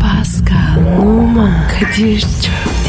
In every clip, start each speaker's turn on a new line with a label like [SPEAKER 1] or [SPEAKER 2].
[SPEAKER 1] Pascal, Oman, Kadir çok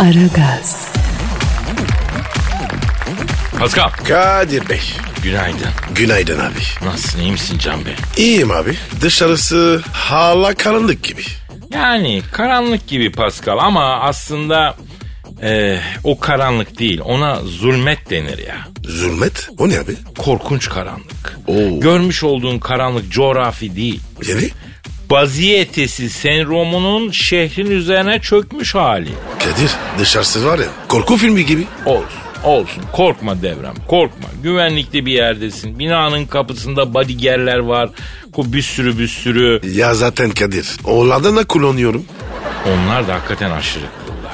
[SPEAKER 1] Aragaz,
[SPEAKER 2] Pascal.
[SPEAKER 3] Kadir Bey.
[SPEAKER 2] Günaydın.
[SPEAKER 3] Günaydın abi.
[SPEAKER 2] Nasılsın iyi misin Can Bey?
[SPEAKER 3] İyiyim abi. Dışarısı hala karanlık gibi.
[SPEAKER 2] Yani karanlık gibi Pascal ama aslında eh, o karanlık değil ona zulmet denir ya.
[SPEAKER 3] Zulmet. O ne abi?
[SPEAKER 2] Korkunç karanlık.
[SPEAKER 3] Oo.
[SPEAKER 2] Görmüş olduğun karanlık coğrafi değil.
[SPEAKER 3] Yani?
[SPEAKER 2] Baziyetesi sendromunun şehrin üzerine çökmüş hali.
[SPEAKER 3] Kadir dışarısı var ya korku filmi gibi.
[SPEAKER 2] Olsun. Olsun korkma devrem korkma güvenlikli bir yerdesin binanın kapısında bodygerler var bir sürü bir sürü
[SPEAKER 3] Ya zaten Kadir. Onlardan da kullanıyorum.
[SPEAKER 2] onlar da hakikaten aşırı kıllar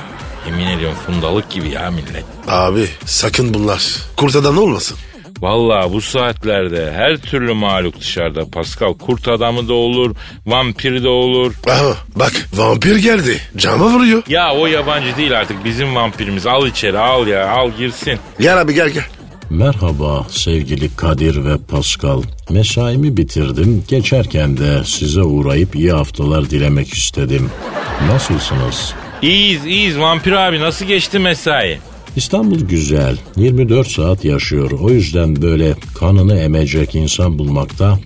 [SPEAKER 2] yemin ediyorum fundalık gibi ya millet
[SPEAKER 3] Abi sakın bunlar. Kurt adam olmasın.
[SPEAKER 2] Vallahi bu saatlerde her türlü mağlup dışarıda Pascal. Kurt adamı da olur, vampir de olur.
[SPEAKER 3] Aha bak vampir geldi. Cama vuruyor.
[SPEAKER 2] Ya o yabancı değil artık bizim vampirimiz. Al içeri al ya al girsin.
[SPEAKER 3] Gel abi gel gel.
[SPEAKER 4] Merhaba sevgili Kadir ve Pascal. Mesaimi bitirdim. Geçerken de size uğrayıp iyi haftalar dilemek istedim. Nasılsınız?
[SPEAKER 2] İyiyiz iyiyiz vampir abi nasıl geçti mesai?
[SPEAKER 4] İstanbul güzel. 24 saat yaşıyor. O yüzden böyle kanını emecek insan bulmakta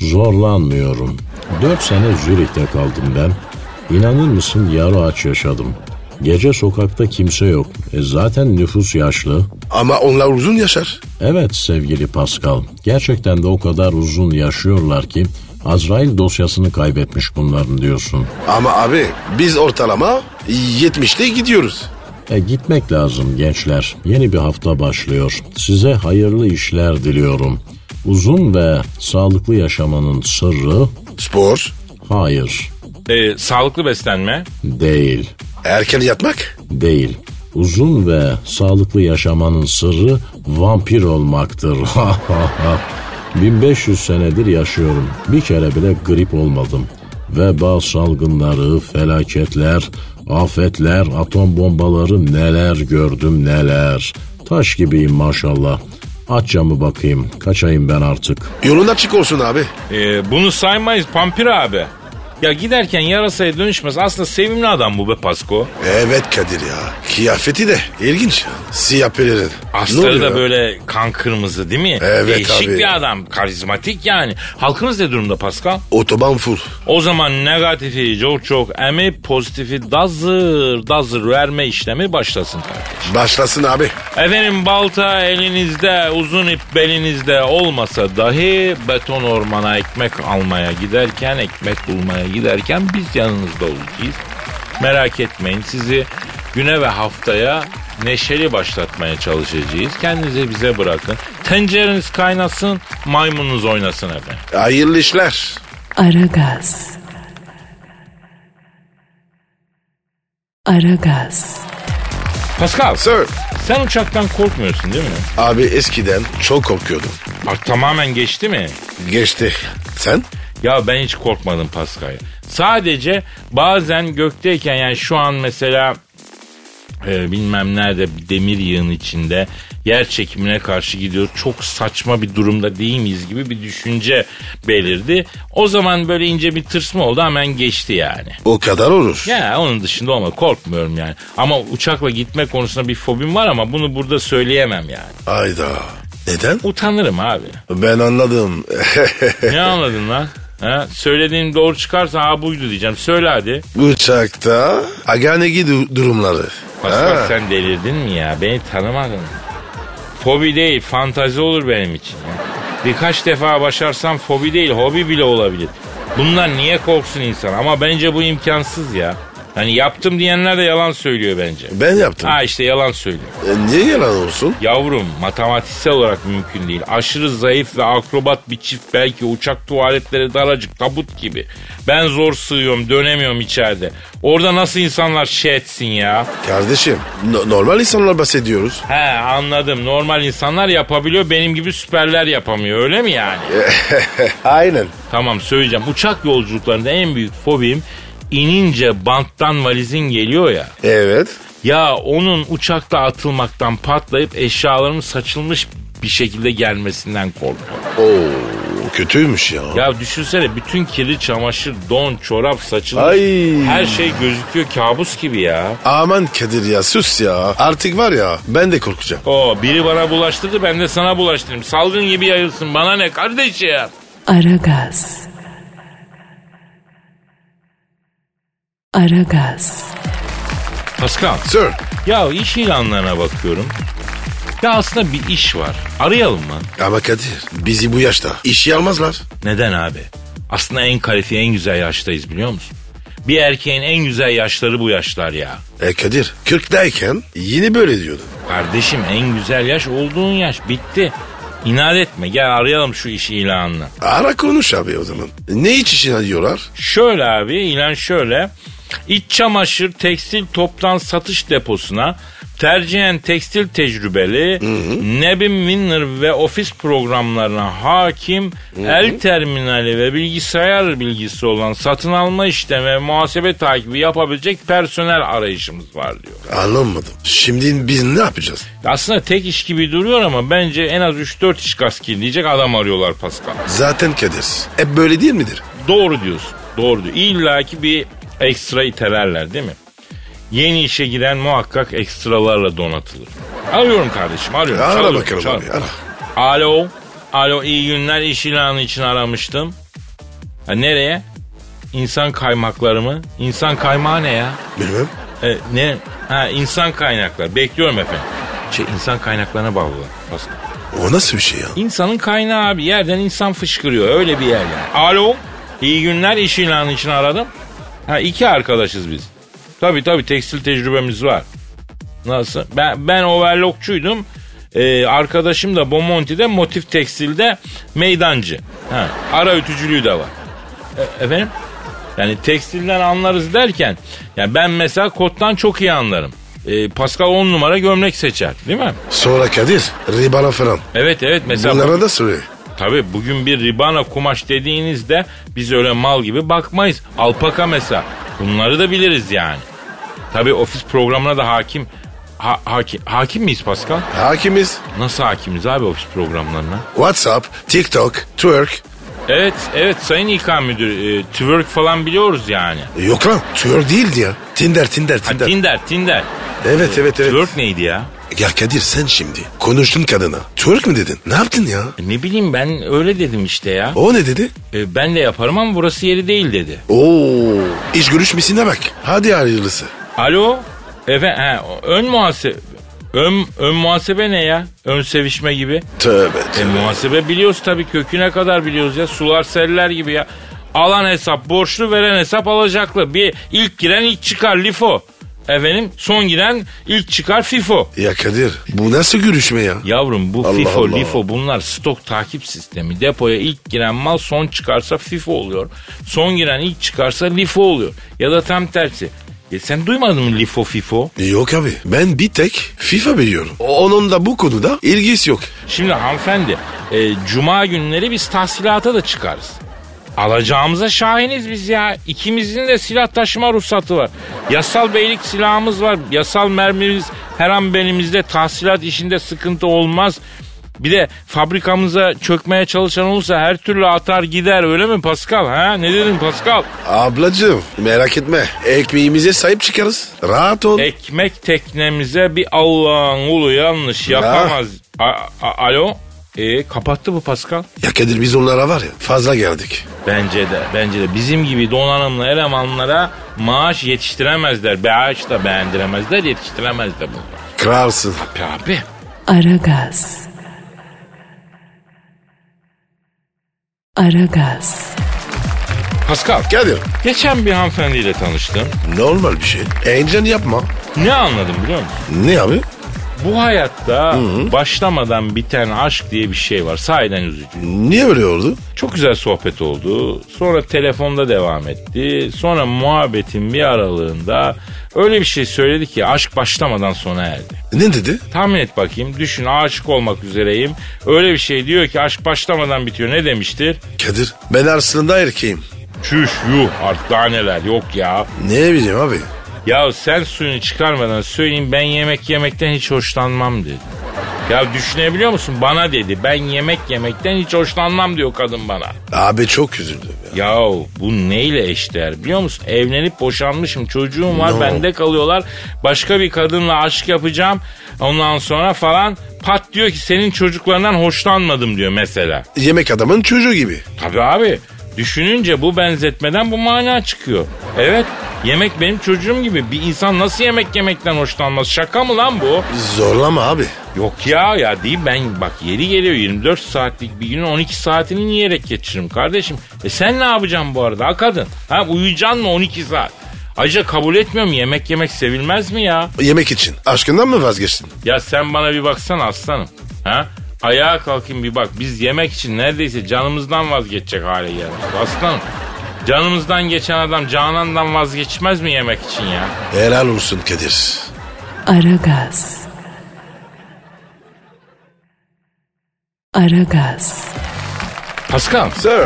[SPEAKER 4] zorlanmıyorum. 4 sene Zürih'te kaldım ben. İnanır mısın yarı aç yaşadım. Gece sokakta kimse yok. E zaten nüfus yaşlı.
[SPEAKER 3] Ama onlar uzun yaşar.
[SPEAKER 4] Evet sevgili Pascal. Gerçekten de o kadar uzun yaşıyorlar ki Azrail dosyasını kaybetmiş bunların diyorsun.
[SPEAKER 3] Ama abi biz ortalama 70'te gidiyoruz.
[SPEAKER 4] E gitmek lazım gençler. Yeni bir hafta başlıyor. Size hayırlı işler diliyorum. Uzun ve sağlıklı yaşamanın sırrı
[SPEAKER 3] Spor,
[SPEAKER 4] hayır
[SPEAKER 2] Ee, sağlıklı beslenme.
[SPEAKER 4] değil.
[SPEAKER 3] erken yatmak,
[SPEAKER 4] Değil. Uzun ve sağlıklı yaşamanın sırrı vampir olmaktır. 1500 senedir yaşıyorum. Bir kere bile grip olmadım. Veba salgınları, felaketler, afetler, atom bombaları neler gördüm neler. Taş gibiyim maşallah. Aç camı bakayım. Kaçayım ben artık.
[SPEAKER 3] yolun açık olsun abi.
[SPEAKER 2] Ee, bunu saymayız vampir abi. Ya giderken yarasaya dönüşmez. Aslında sevimli adam bu be Pasko.
[SPEAKER 3] Evet Kadir ya. Kıyafeti de ilginç. Siyah pelerin. Ne
[SPEAKER 2] Astarı
[SPEAKER 3] oluyor
[SPEAKER 2] da
[SPEAKER 3] ya?
[SPEAKER 2] böyle kan kırmızı değil mi?
[SPEAKER 3] Evet
[SPEAKER 2] Değişik
[SPEAKER 3] abi.
[SPEAKER 2] bir adam. Karizmatik yani. Halkımız ne durumda Pascal?
[SPEAKER 3] Otoban full.
[SPEAKER 2] O zaman negatifi çok çok emi pozitifi dazır dazır verme işlemi başlasın kardeşim.
[SPEAKER 3] Başlasın abi.
[SPEAKER 2] Efendim balta elinizde uzun ip belinizde olmasa dahi beton ormana ekmek almaya giderken ekmek bulmaya giderken biz yanınızda olacağız. Merak etmeyin sizi güne ve haftaya neşeli başlatmaya çalışacağız. Kendinizi bize bırakın. Tencereniz kaynasın, maymununuz oynasın efendim.
[SPEAKER 3] Hayırlı işler.
[SPEAKER 1] Aragaz. Aragaz,
[SPEAKER 2] Pascal,
[SPEAKER 3] Sir.
[SPEAKER 2] sen uçaktan korkmuyorsun değil mi?
[SPEAKER 3] Abi eskiden çok korkuyordum.
[SPEAKER 2] Bak tamamen geçti mi?
[SPEAKER 3] Geçti. Sen?
[SPEAKER 2] Ya ben hiç korkmadım Pascal. Sadece bazen gökteyken yani şu an mesela e, bilmem nerede bir demir yığın içinde yer çekimine karşı gidiyor. Çok saçma bir durumda değil miyiz gibi bir düşünce belirdi. O zaman böyle ince bir tırsma oldu hemen geçti yani.
[SPEAKER 3] O kadar olur.
[SPEAKER 2] Ya onun dışında olma korkmuyorum yani. Ama uçakla gitme konusunda bir fobim var ama bunu burada söyleyemem yani.
[SPEAKER 3] Ayda. Neden?
[SPEAKER 2] Utanırım abi.
[SPEAKER 3] Ben anladım.
[SPEAKER 2] Ne anladın lan? Ha? Söylediğim doğru çıkarsa ha buydu diyeceğim. Söyle hadi.
[SPEAKER 3] Uçakta aganegi du- durumları.
[SPEAKER 2] Pascal
[SPEAKER 3] Ha.
[SPEAKER 2] sen delirdin mi ya? Beni tanımadın. mı? Fobi değil, fantazi olur benim için. ya. Birkaç defa başarsam fobi değil, hobi bile olabilir. Bunlar niye korksun insan? Ama bence bu imkansız ya. Hani yaptım diyenler de yalan söylüyor bence.
[SPEAKER 3] Ben yaptım.
[SPEAKER 2] Ha işte yalan söylüyor.
[SPEAKER 3] E, niye yalan olsun?
[SPEAKER 2] Yavrum matematiksel olarak mümkün değil. Aşırı zayıf ve akrobat bir çift belki uçak tuvaletleri daracık tabut gibi. Ben zor sığıyorum dönemiyorum içeride. Orada nasıl insanlar şey etsin ya?
[SPEAKER 3] Kardeşim no- normal insanlar bahsediyoruz.
[SPEAKER 2] He anladım normal insanlar yapabiliyor benim gibi süperler yapamıyor öyle mi yani?
[SPEAKER 3] Aynen.
[SPEAKER 2] Tamam söyleyeceğim uçak yolculuklarında en büyük fobim inince banttan valizin geliyor ya.
[SPEAKER 3] Evet.
[SPEAKER 2] Ya onun uçakta atılmaktan patlayıp eşyalarımın saçılmış bir şekilde gelmesinden korkuyorum.
[SPEAKER 3] Oo kötüymüş ya.
[SPEAKER 2] Ya düşünsene bütün kirli çamaşır, don, çorap, saçılmış.
[SPEAKER 3] Ay.
[SPEAKER 2] Her şey gözüküyor kabus gibi ya.
[SPEAKER 3] Aman Kadir ya sus ya. Artık var ya ben de korkacağım.
[SPEAKER 2] O biri bana bulaştırdı ben de sana bulaştırayım. Salgın gibi yayılsın bana ne kardeşim.
[SPEAKER 1] Aragaz. Aragaz.
[SPEAKER 2] Pascal
[SPEAKER 3] Sir
[SPEAKER 2] ya iş ilanlarına bakıyorum. Ya aslında bir iş var. Arayalım mı?
[SPEAKER 3] ama Kadir bizi bu yaşta işe almazlar.
[SPEAKER 2] Neden abi? Aslında en kalifiye en güzel yaştayız biliyor musun? Bir erkeğin en güzel yaşları bu yaşlar ya.
[SPEAKER 3] E Kadir 40'dayken yine böyle diyordu.
[SPEAKER 2] Kardeşim en güzel yaş olduğun yaş bitti. İnat etme gel arayalım şu iş ilanını.
[SPEAKER 3] Ara konuş abi o zaman. Ne iç işine diyorlar?
[SPEAKER 2] Şöyle abi ilan şöyle. İç çamaşır tekstil toptan satış deposuna tercihen tekstil tecrübeli, Nebim Winner ve ofis programlarına hakim, el terminali ve bilgisayar bilgisi olan satın alma işlemi ve muhasebe takibi yapabilecek personel arayışımız var diyor.
[SPEAKER 3] Anlamadım. Şimdi biz ne yapacağız?
[SPEAKER 2] Aslında tek iş gibi duruyor ama bence en az 3-4 iş gaskilleyecek adam arıyorlar Pascal.
[SPEAKER 3] Zaten Kadir hep böyle değil midir?
[SPEAKER 2] Doğru diyorsun. Doğru diyor. İlla ki bir ekstra itelerler değil mi? Yeni işe giren muhakkak ekstralarla donatılır. Arıyorum kardeşim arıyorum.
[SPEAKER 3] Ara
[SPEAKER 2] Çalıyorum,
[SPEAKER 3] bakalım
[SPEAKER 2] çalıyorum.
[SPEAKER 3] abi, ara.
[SPEAKER 2] Alo. Alo iyi günler iş ilanı için aramıştım. Ha, nereye? İnsan kaymakları mı? İnsan kaymağı ne ya?
[SPEAKER 3] Bilmem.
[SPEAKER 2] E, ne? Ha insan kaynakları. Bekliyorum efendim. Şey insan kaynaklarına bağlı. Pascal.
[SPEAKER 3] O nasıl bir şey ya?
[SPEAKER 2] İnsanın kaynağı abi. Yerden insan fışkırıyor. Öyle bir yer yani. Alo. İyi günler iş ilanı için aradım. Ha iki arkadaşız biz. Tabii tabii tekstil tecrübemiz var. Nasıl? Ben, ben overlockçuydum. Ee, arkadaşım da Bomonti'de motif tekstilde meydancı. Ha, ara ütücülüğü de var. E- efendim? Yani tekstilden anlarız derken yani ben mesela kottan çok iyi anlarım. Ee, Pascal 10 numara gömlek seçer değil mi?
[SPEAKER 3] Sonra Kadir ribana falan.
[SPEAKER 2] Evet evet mesela
[SPEAKER 3] Bunlara da söyle.
[SPEAKER 2] Tabii bugün bir ribana kumaş dediğinizde biz öyle mal gibi bakmayız. Alpaka mesela. Bunları da biliriz yani. Tabii ofis programına da hakim ha- haki- hakim miyiz Pascal?
[SPEAKER 3] Hakimiz.
[SPEAKER 2] Nasıl hakimiz abi ofis programlarına?
[SPEAKER 3] WhatsApp, TikTok, Twerk.
[SPEAKER 2] Evet, evet sayın İK müdürü. e, twerk falan biliyoruz yani.
[SPEAKER 3] Yok lan Twerk değildi ya. Tinder, Tinder,
[SPEAKER 2] Ha,
[SPEAKER 3] Tinder.
[SPEAKER 2] Tinder, Tinder.
[SPEAKER 3] evet, evet, evet.
[SPEAKER 2] Twerk neydi ya?
[SPEAKER 3] Ya Kadir sen şimdi konuştun kadına. Twerk mi dedin? Ne yaptın ya?
[SPEAKER 2] E, Ne bileyim ben öyle dedim işte ya.
[SPEAKER 3] O ne dedi?
[SPEAKER 2] E, ben de yaparım ama burası yeri değil dedi.
[SPEAKER 3] Oo. İş görüşmesine bak. Hadi hayırlısı.
[SPEAKER 2] Alo. Efendim, ha, ön muhasebe. Ön, ön muhasebe ne ya? Ön sevişme gibi.
[SPEAKER 3] Tövbe.
[SPEAKER 2] E, muhasebe biliyoruz tabii köküne kadar biliyoruz ya. Sular seller gibi ya. Alan hesap borçlu veren hesap alacaklı. Bir ilk giren ilk çıkar lifo. Efendim son giren ilk çıkar fifo.
[SPEAKER 3] Ya Kadir bu nasıl görüşme ya?
[SPEAKER 2] Yavrum bu
[SPEAKER 3] Allah
[SPEAKER 2] FIFO,
[SPEAKER 3] Allah.
[SPEAKER 2] LIFO bunlar stok takip sistemi. Depoya ilk giren mal son çıkarsa FIFO oluyor. Son giren ilk çıkarsa LIFO oluyor. Ya da tam tersi. E sen duymadın mı LIFO, FIFO?
[SPEAKER 3] Yok abi ben bir tek FIFA biliyorum. O- Onun da bu konuda ilgisi yok.
[SPEAKER 2] Şimdi hanımefendi e, cuma günleri biz tahsilata da çıkarız. Alacağımıza şahiniz biz ya. İkimizin de silah taşıma ruhsatı var. Yasal beylik silahımız var. Yasal mermimiz her an benimizde. Tahsilat işinde sıkıntı olmaz. Bir de fabrikamıza çökmeye çalışan olursa her türlü atar gider öyle mi Pascal? Ha? Ne dedin Pascal?
[SPEAKER 3] Ablacığım merak etme ekmeğimize sahip çıkarız. Rahat ol.
[SPEAKER 2] Ekmek teknemize bir Allah'ın ulu yanlış yapamaz. A- a- Alo? E, kapattı bu Pascal.
[SPEAKER 3] ya Kadir biz onlara var ya fazla geldik.
[SPEAKER 2] Bence de bence de bizim gibi donanımlı elemanlara maaş yetiştiremezler. Bağış da beğendiremezler yetiştiremezler bunu.
[SPEAKER 3] Kırarsın.
[SPEAKER 2] Abi
[SPEAKER 1] Aragaz. Aragaz.
[SPEAKER 2] Pascal.
[SPEAKER 3] Kadir
[SPEAKER 2] Geçen bir hanımefendiyle tanıştım.
[SPEAKER 3] normal bir şey. Heyecan yapma.
[SPEAKER 2] Ne anladım biliyor musun?
[SPEAKER 3] Ne abi?
[SPEAKER 2] Bu hayatta başlamadan biten aşk diye bir şey var. Sahiden üzücü.
[SPEAKER 3] Niye böyle oldu?
[SPEAKER 2] Çok güzel sohbet oldu. Sonra telefonda devam etti. Sonra muhabbetin bir aralığında öyle bir şey söyledi ki aşk başlamadan sona erdi.
[SPEAKER 3] Ne dedi?
[SPEAKER 2] Tahmin et bakayım. Düşün aşık olmak üzereyim. Öyle bir şey diyor ki aşk başlamadan bitiyor. Ne demiştir?
[SPEAKER 3] Kadir ben aslında erkeğim.
[SPEAKER 2] Çüş yuh artık daha neler yok ya.
[SPEAKER 3] Ne bileyim abi?
[SPEAKER 2] Ya sen suyunu çıkarmadan söyleyeyim ben yemek yemekten hiç hoşlanmam dedi. Ya düşünebiliyor musun? Bana dedi ben yemek yemekten hiç hoşlanmam diyor kadın bana.
[SPEAKER 3] Abi çok üzüldüm ya.
[SPEAKER 2] Ya bu neyle eşdeğer biliyor musun? Evlenip boşanmışım çocuğum var
[SPEAKER 3] No.
[SPEAKER 2] bende kalıyorlar. Başka bir kadınla aşk yapacağım. Ondan sonra falan pat diyor ki senin çocuklarından hoşlanmadım diyor mesela.
[SPEAKER 3] Yemek adamın çocuğu gibi.
[SPEAKER 2] Tabii abi düşününce bu benzetmeden bu mana çıkıyor. Evet yemek benim çocuğum gibi bir insan nasıl yemek yemekten hoşlanmaz şaka mı lan bu?
[SPEAKER 3] Zorlama abi.
[SPEAKER 2] Yok ya ya değil ben bak yeri geliyor 24 saatlik bir günün 12 saatini yiyerek geçiririm kardeşim. E sen ne yapacaksın bu arada ha kadın? Ha uyuyacaksın mı 12 saat? Ayrıca kabul etmiyorum yemek yemek sevilmez mi ya?
[SPEAKER 3] Yemek için. Aşkından mı vazgeçtin?
[SPEAKER 2] Ya sen bana bir baksana aslanım. Ha? Ayağa kalkayım bir bak. Biz yemek için neredeyse canımızdan vazgeçecek hale geldik aslanım. Canımızdan geçen adam canandan vazgeçmez mi yemek için ya?
[SPEAKER 3] Helal olsun Kadir.
[SPEAKER 1] Aragaz. Aragaz.
[SPEAKER 2] Pascal
[SPEAKER 3] Sir.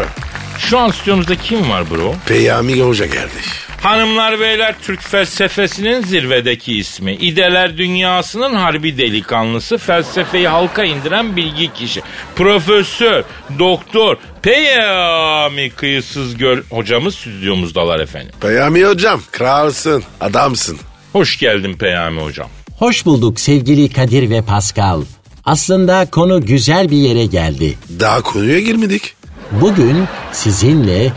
[SPEAKER 2] şu an stüdyomuzda kim var bro?
[SPEAKER 3] Peyami Hoca geldi.
[SPEAKER 2] Hanımlar beyler Türk felsefesinin zirvedeki ismi. İdeler dünyasının harbi delikanlısı. Felsefeyi halka indiren bilgi kişi. Profesör, doktor, peyami kıyısız göl hocamız stüdyomuzdalar efendim.
[SPEAKER 3] Peyami Hocam. Kralsın. Adamsın.
[SPEAKER 2] Hoş geldin peyami hocam.
[SPEAKER 4] Hoş bulduk sevgili Kadir ve Pascal. Aslında konu güzel bir yere geldi.
[SPEAKER 3] Daha konuya girmedik.
[SPEAKER 4] Bugün sizinle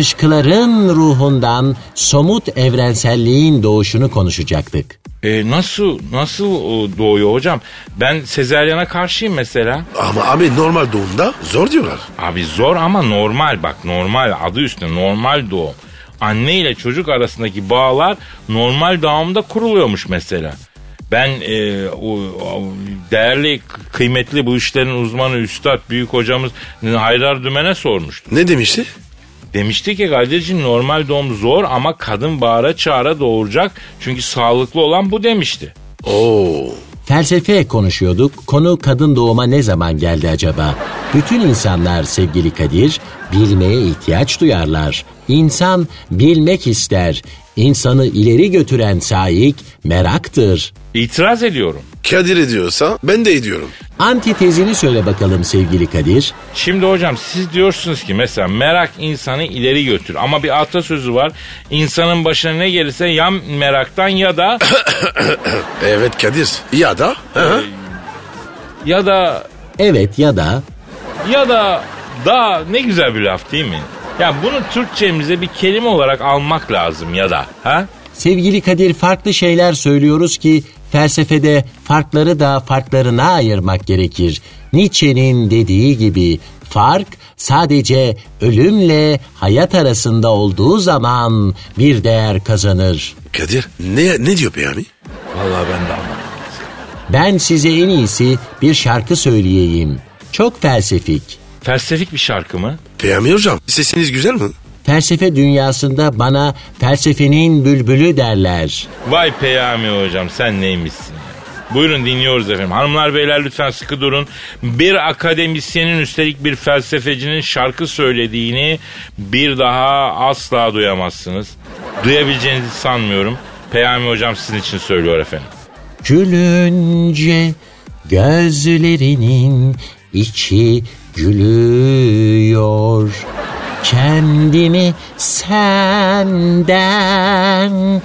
[SPEAKER 4] çatışkıların ruhundan somut evrenselliğin doğuşunu konuşacaktık.
[SPEAKER 2] E nasıl nasıl o doğuyor hocam? Ben sezeryana karşıyım mesela.
[SPEAKER 3] Ama abi normal doğumda zor diyorlar.
[SPEAKER 2] Abi zor ama normal bak normal adı üstünde normal doğum. Anne ile çocuk arasındaki bağlar normal doğumda kuruluyormuş mesela. Ben e, o, o değerli kıymetli bu işlerin uzmanı üstad büyük hocamız Haydar Dümen'e sormuştu.
[SPEAKER 3] Ne demişti?
[SPEAKER 2] Demişti ki Kadir'cim normal doğum zor ama kadın bağıra çağıra doğuracak. Çünkü sağlıklı olan bu demişti.
[SPEAKER 3] Oo.
[SPEAKER 4] Felsefe konuşuyorduk. Konu kadın doğuma ne zaman geldi acaba? Bütün insanlar sevgili Kadir bilmeye ihtiyaç duyarlar. İnsan bilmek ister. İnsanı ileri götüren saik meraktır.
[SPEAKER 2] İtiraz ediyorum.
[SPEAKER 3] Kadir ediyorsa ben de ediyorum.
[SPEAKER 4] Antitezini söyle bakalım sevgili Kadir.
[SPEAKER 2] Şimdi hocam siz diyorsunuz ki mesela merak insanı ileri götür. Ama bir atasözü var. İnsanın başına ne gelirse ya meraktan ya da
[SPEAKER 3] Evet Kadir. Ya da? Hı hı.
[SPEAKER 2] ya da
[SPEAKER 4] Evet ya da
[SPEAKER 2] ya da da ne güzel bir laf değil mi? Ya bunu Türkçemize bir kelime olarak almak lazım ya da. Ha?
[SPEAKER 4] sevgili Kadir farklı şeyler söylüyoruz ki felsefede farkları da farklarına ayırmak gerekir. Nietzsche'nin dediği gibi fark sadece ölümle hayat arasında olduğu zaman bir değer kazanır.
[SPEAKER 3] Kadir ne ne diyor Peyami?
[SPEAKER 2] Vallahi ben de anlamadım.
[SPEAKER 4] Ben size en iyisi bir şarkı söyleyeyim. Çok felsefik.
[SPEAKER 2] Felsefik bir şarkı mı?
[SPEAKER 3] Peyami Hocam sesiniz güzel mi?
[SPEAKER 4] Felsefe dünyasında bana felsefenin bülbülü derler.
[SPEAKER 2] Vay Peyami hocam sen neymişsin ya. Buyurun dinliyoruz efendim. Hanımlar beyler lütfen sıkı durun. Bir akademisyenin üstelik bir felsefecinin şarkı söylediğini bir daha asla duyamazsınız. Duyabileceğinizi sanmıyorum. Peyami hocam sizin için söylüyor efendim.
[SPEAKER 4] Gülünce gözlerinin içi gülüyor. Kendimi senden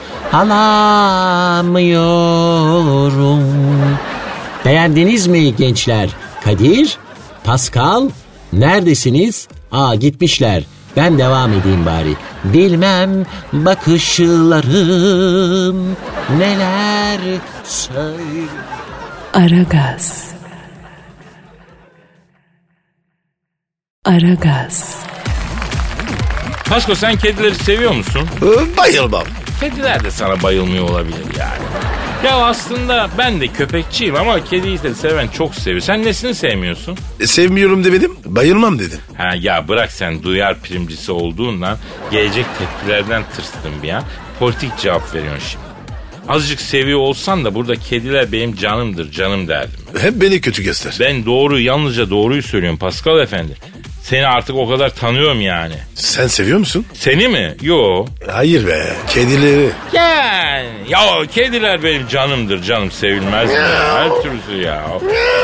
[SPEAKER 4] alamıyorum. Beğendiniz mi gençler? Kadir, Pascal, neredesiniz? Aa gitmişler. Ben devam edeyim bari. Bilmem bakışların neler söyle.
[SPEAKER 1] Aragaz. Aragaz.
[SPEAKER 2] Paşko sen kedileri seviyor musun?
[SPEAKER 3] Ee, Bayılmam.
[SPEAKER 2] Kediler de sana bayılmıyor olabilir yani. Ya aslında ben de köpekçiyim ama kediyi de seven çok seviyor. Sen nesini sevmiyorsun?
[SPEAKER 3] E, sevmiyorum demedim. Bayılmam dedim.
[SPEAKER 2] Ha ya bırak sen duyar primcisi olduğundan gelecek tepkilerden tırstın bir an. Politik cevap veriyorsun şimdi. Azıcık seviyor olsan da burada kediler benim canımdır canım derdim.
[SPEAKER 3] Hep beni kötü göster.
[SPEAKER 2] Ben doğru yalnızca doğruyu söylüyorum Pascal efendi. Seni artık o kadar tanıyorum yani.
[SPEAKER 3] Sen seviyor musun?
[SPEAKER 2] Seni mi? Yo.
[SPEAKER 3] Hayır be. Kedileri.
[SPEAKER 2] Yani. Ya kediler benim canımdır canım sevilmez mi? ya? Her türlüsü ya.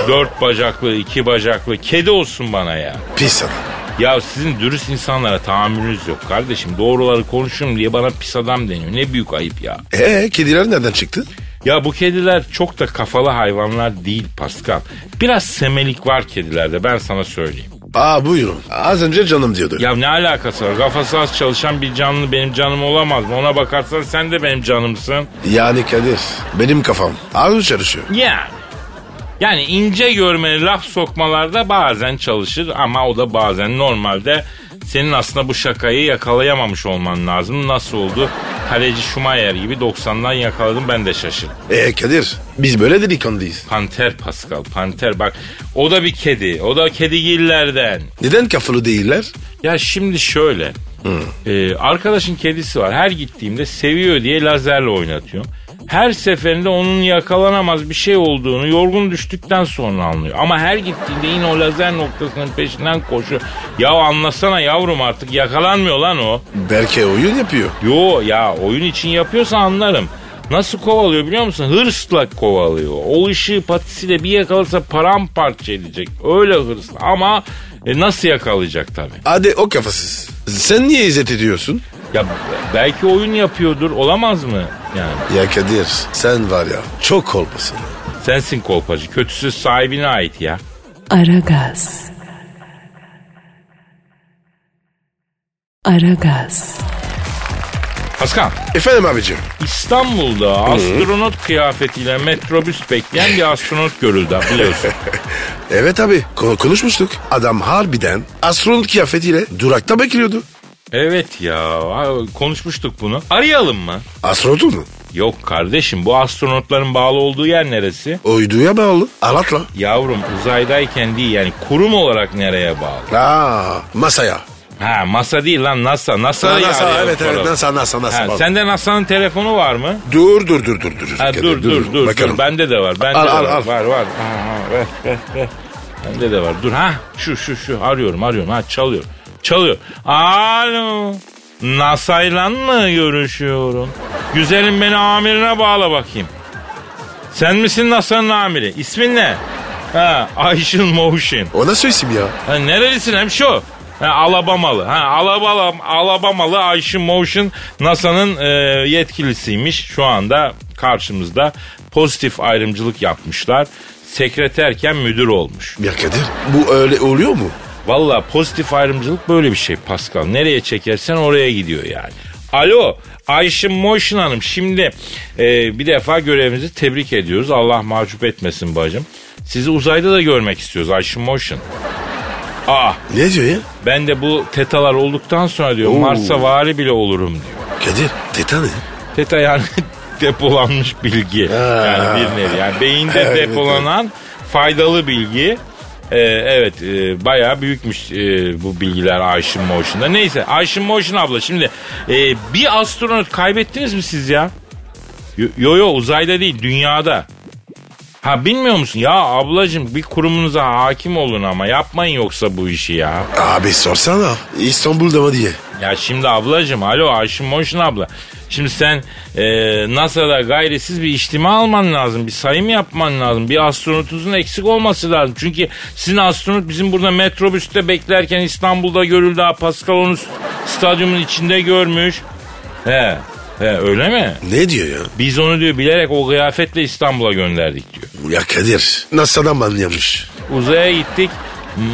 [SPEAKER 2] Dört bacaklı, iki bacaklı kedi olsun bana ya.
[SPEAKER 3] Pis adam.
[SPEAKER 2] Ya sizin dürüst insanlara tahammülünüz yok kardeşim. Doğruları konuşurum diye bana pis adam deniyor. Ne büyük ayıp ya.
[SPEAKER 3] Ee kediler nereden çıktı?
[SPEAKER 2] Ya bu kediler çok da kafalı hayvanlar değil Pascal. Biraz semelik var kedilerde ben sana söyleyeyim.
[SPEAKER 3] Aa buyurun. Az önce canım diyordu.
[SPEAKER 2] Ya ne alakası var? Kafası az çalışan bir canlı benim canım olamaz mı? Ona bakarsan sen de benim canımsın.
[SPEAKER 3] Yani Kadir benim kafam ağır çalışıyor.
[SPEAKER 2] Yani. Yani ince görmeli laf sokmalarda bazen çalışır ama o da bazen normalde senin aslında bu şakayı yakalayamamış olman lazım. Nasıl oldu? Kaleci Schumacher gibi 90'dan yakaladım ben de şaşırdım.
[SPEAKER 3] Ee Kadir biz böyle delikanlıyız.
[SPEAKER 2] Panter Pascal, panter bak o da bir kedi. O da kedigillerden.
[SPEAKER 3] Neden kafalı değiller?
[SPEAKER 2] Ya şimdi şöyle. Ee, arkadaşın kedisi var. Her gittiğimde seviyor diye lazerle oynatıyorum. Her seferinde onun yakalanamaz bir şey olduğunu yorgun düştükten sonra anlıyor. Ama her gittiğinde yine o lazer noktasının peşinden koşuyor. Ya anlasana yavrum artık yakalanmıyor lan o.
[SPEAKER 3] Berke oyun yapıyor.
[SPEAKER 2] Yo ya oyun için yapıyorsa anlarım. Nasıl kovalıyor biliyor musun? Hırsla kovalıyor. O ışığı patisiyle bir yakalarsa paramparça edecek. Öyle hırsla ama e, nasıl yakalayacak tabii.
[SPEAKER 3] Hadi o kafasız. Sen niye izzet ediyorsun?
[SPEAKER 2] Ya belki oyun yapıyordur olamaz mı? Yani
[SPEAKER 3] Ya Kadir sen var ya çok olmasın.
[SPEAKER 2] sensin kolpacı. Kötüsü sahibine ait ya.
[SPEAKER 1] Aragaz. Aragaz.
[SPEAKER 2] Paskal
[SPEAKER 3] Efendim abicim.
[SPEAKER 2] İstanbul'da astronot kıyafetiyle metrobüs bekleyen bir astronot görüldü biliyorsun.
[SPEAKER 3] Evet abi ko- konuşmuştuk. Adam harbiden astronot kıyafetiyle durakta bekliyordu.
[SPEAKER 2] evet ya konuşmuştuk bunu. Arayalım mı?
[SPEAKER 3] Astronotu mu?
[SPEAKER 2] Yok kardeşim bu astronotların bağlı olduğu yer neresi?
[SPEAKER 3] Uyduya bağlı. Alatla.
[SPEAKER 2] Yavrum uzaydayken değil yani kurum olarak nereye bağlı?
[SPEAKER 3] Aa, masaya.
[SPEAKER 2] Ha masa değil lan NASA.
[SPEAKER 3] Ha,
[SPEAKER 2] NASA'yı
[SPEAKER 3] NASA,
[SPEAKER 2] arayalım
[SPEAKER 3] evet evet
[SPEAKER 2] soralım.
[SPEAKER 3] NASA NASA
[SPEAKER 2] Ha,
[SPEAKER 3] NASA.
[SPEAKER 2] sende NASA'nın telefonu var mı?
[SPEAKER 3] Dur dur dur dur dur.
[SPEAKER 2] Ha,
[SPEAKER 3] Kadir,
[SPEAKER 2] dur dur dur.
[SPEAKER 3] Bakalım.
[SPEAKER 2] dur. Bende de var. Bende
[SPEAKER 3] Al,
[SPEAKER 2] de
[SPEAKER 3] al,
[SPEAKER 2] var.
[SPEAKER 3] al.
[SPEAKER 2] Var var. Ha, ha, ver, ver, ver. Bende de var. Dur ha. Şu şu şu. Arıyorum arıyorum. Ha çalıyor. Çalıyor. Alo. NASA'yla mı görüşüyorum? Güzelim beni amirine bağla bakayım. Sen misin NASA'nın amiri? İsmin ne? Ha, Ayşin Motion.
[SPEAKER 3] O nasıl isim ya?
[SPEAKER 2] Ha, nerelisin hem şu? Ha, Alabamalı. Ha, Alabama, Alabamalı Ayşe Motion NASA'nın e, yetkilisiymiş. Şu anda karşımızda pozitif ayrımcılık yapmışlar. Sekreterken müdür olmuş.
[SPEAKER 3] Ya Kadir bu öyle oluyor mu?
[SPEAKER 2] Valla pozitif ayrımcılık böyle bir şey Pascal. Nereye çekersen oraya gidiyor yani. Alo Ayşe Motion Hanım şimdi e, bir defa görevinizi tebrik ediyoruz. Allah mahcup etmesin bacım. Sizi uzayda da görmek istiyoruz Ayşe Motion. Aa
[SPEAKER 3] Ne diyor ya?
[SPEAKER 2] ben de bu tetalar olduktan sonra diyor Mars'a vari bile olurum diyor.
[SPEAKER 3] Kadir teta ne?
[SPEAKER 2] Teta yani depolanmış bilgi. Yani bir nevi. Yani beyinde
[SPEAKER 3] Evet,
[SPEAKER 2] depolanan faydalı bilgi. Ee, evet e, bayağı büyükmüş e, bu bilgiler Ayşin Motion'da. Neyse Ayşin Motion abla şimdi e, bir astronot kaybettiniz mi siz ya? Yo- Yo yo uzayda değil dünyada. Ha bilmiyor musun? Ya ablacım bir kurumunuza hakim olun ama yapmayın yoksa bu işi ya.
[SPEAKER 3] Abi sorsana İstanbul'da mı diye.
[SPEAKER 2] Ya şimdi ablacığım alo Ayşin Moşin abla. Şimdi sen e, NASA'da gayrisiz bir içtima alman lazım. Bir sayım yapman lazım. Bir astronotunuzun eksik olması lazım. Çünkü sizin astronot bizim burada metrobüste beklerken İstanbul'da görüldü. Ha, Pascal onu s- stadyumun içinde görmüş. He, he öyle mi?
[SPEAKER 3] Ne diyor ya?
[SPEAKER 2] Biz onu diyor bilerek o kıyafetle İstanbul'a gönderdik diyor.
[SPEAKER 3] Ya Kadir NASA'dan anlayamış.
[SPEAKER 2] Uzaya gittik.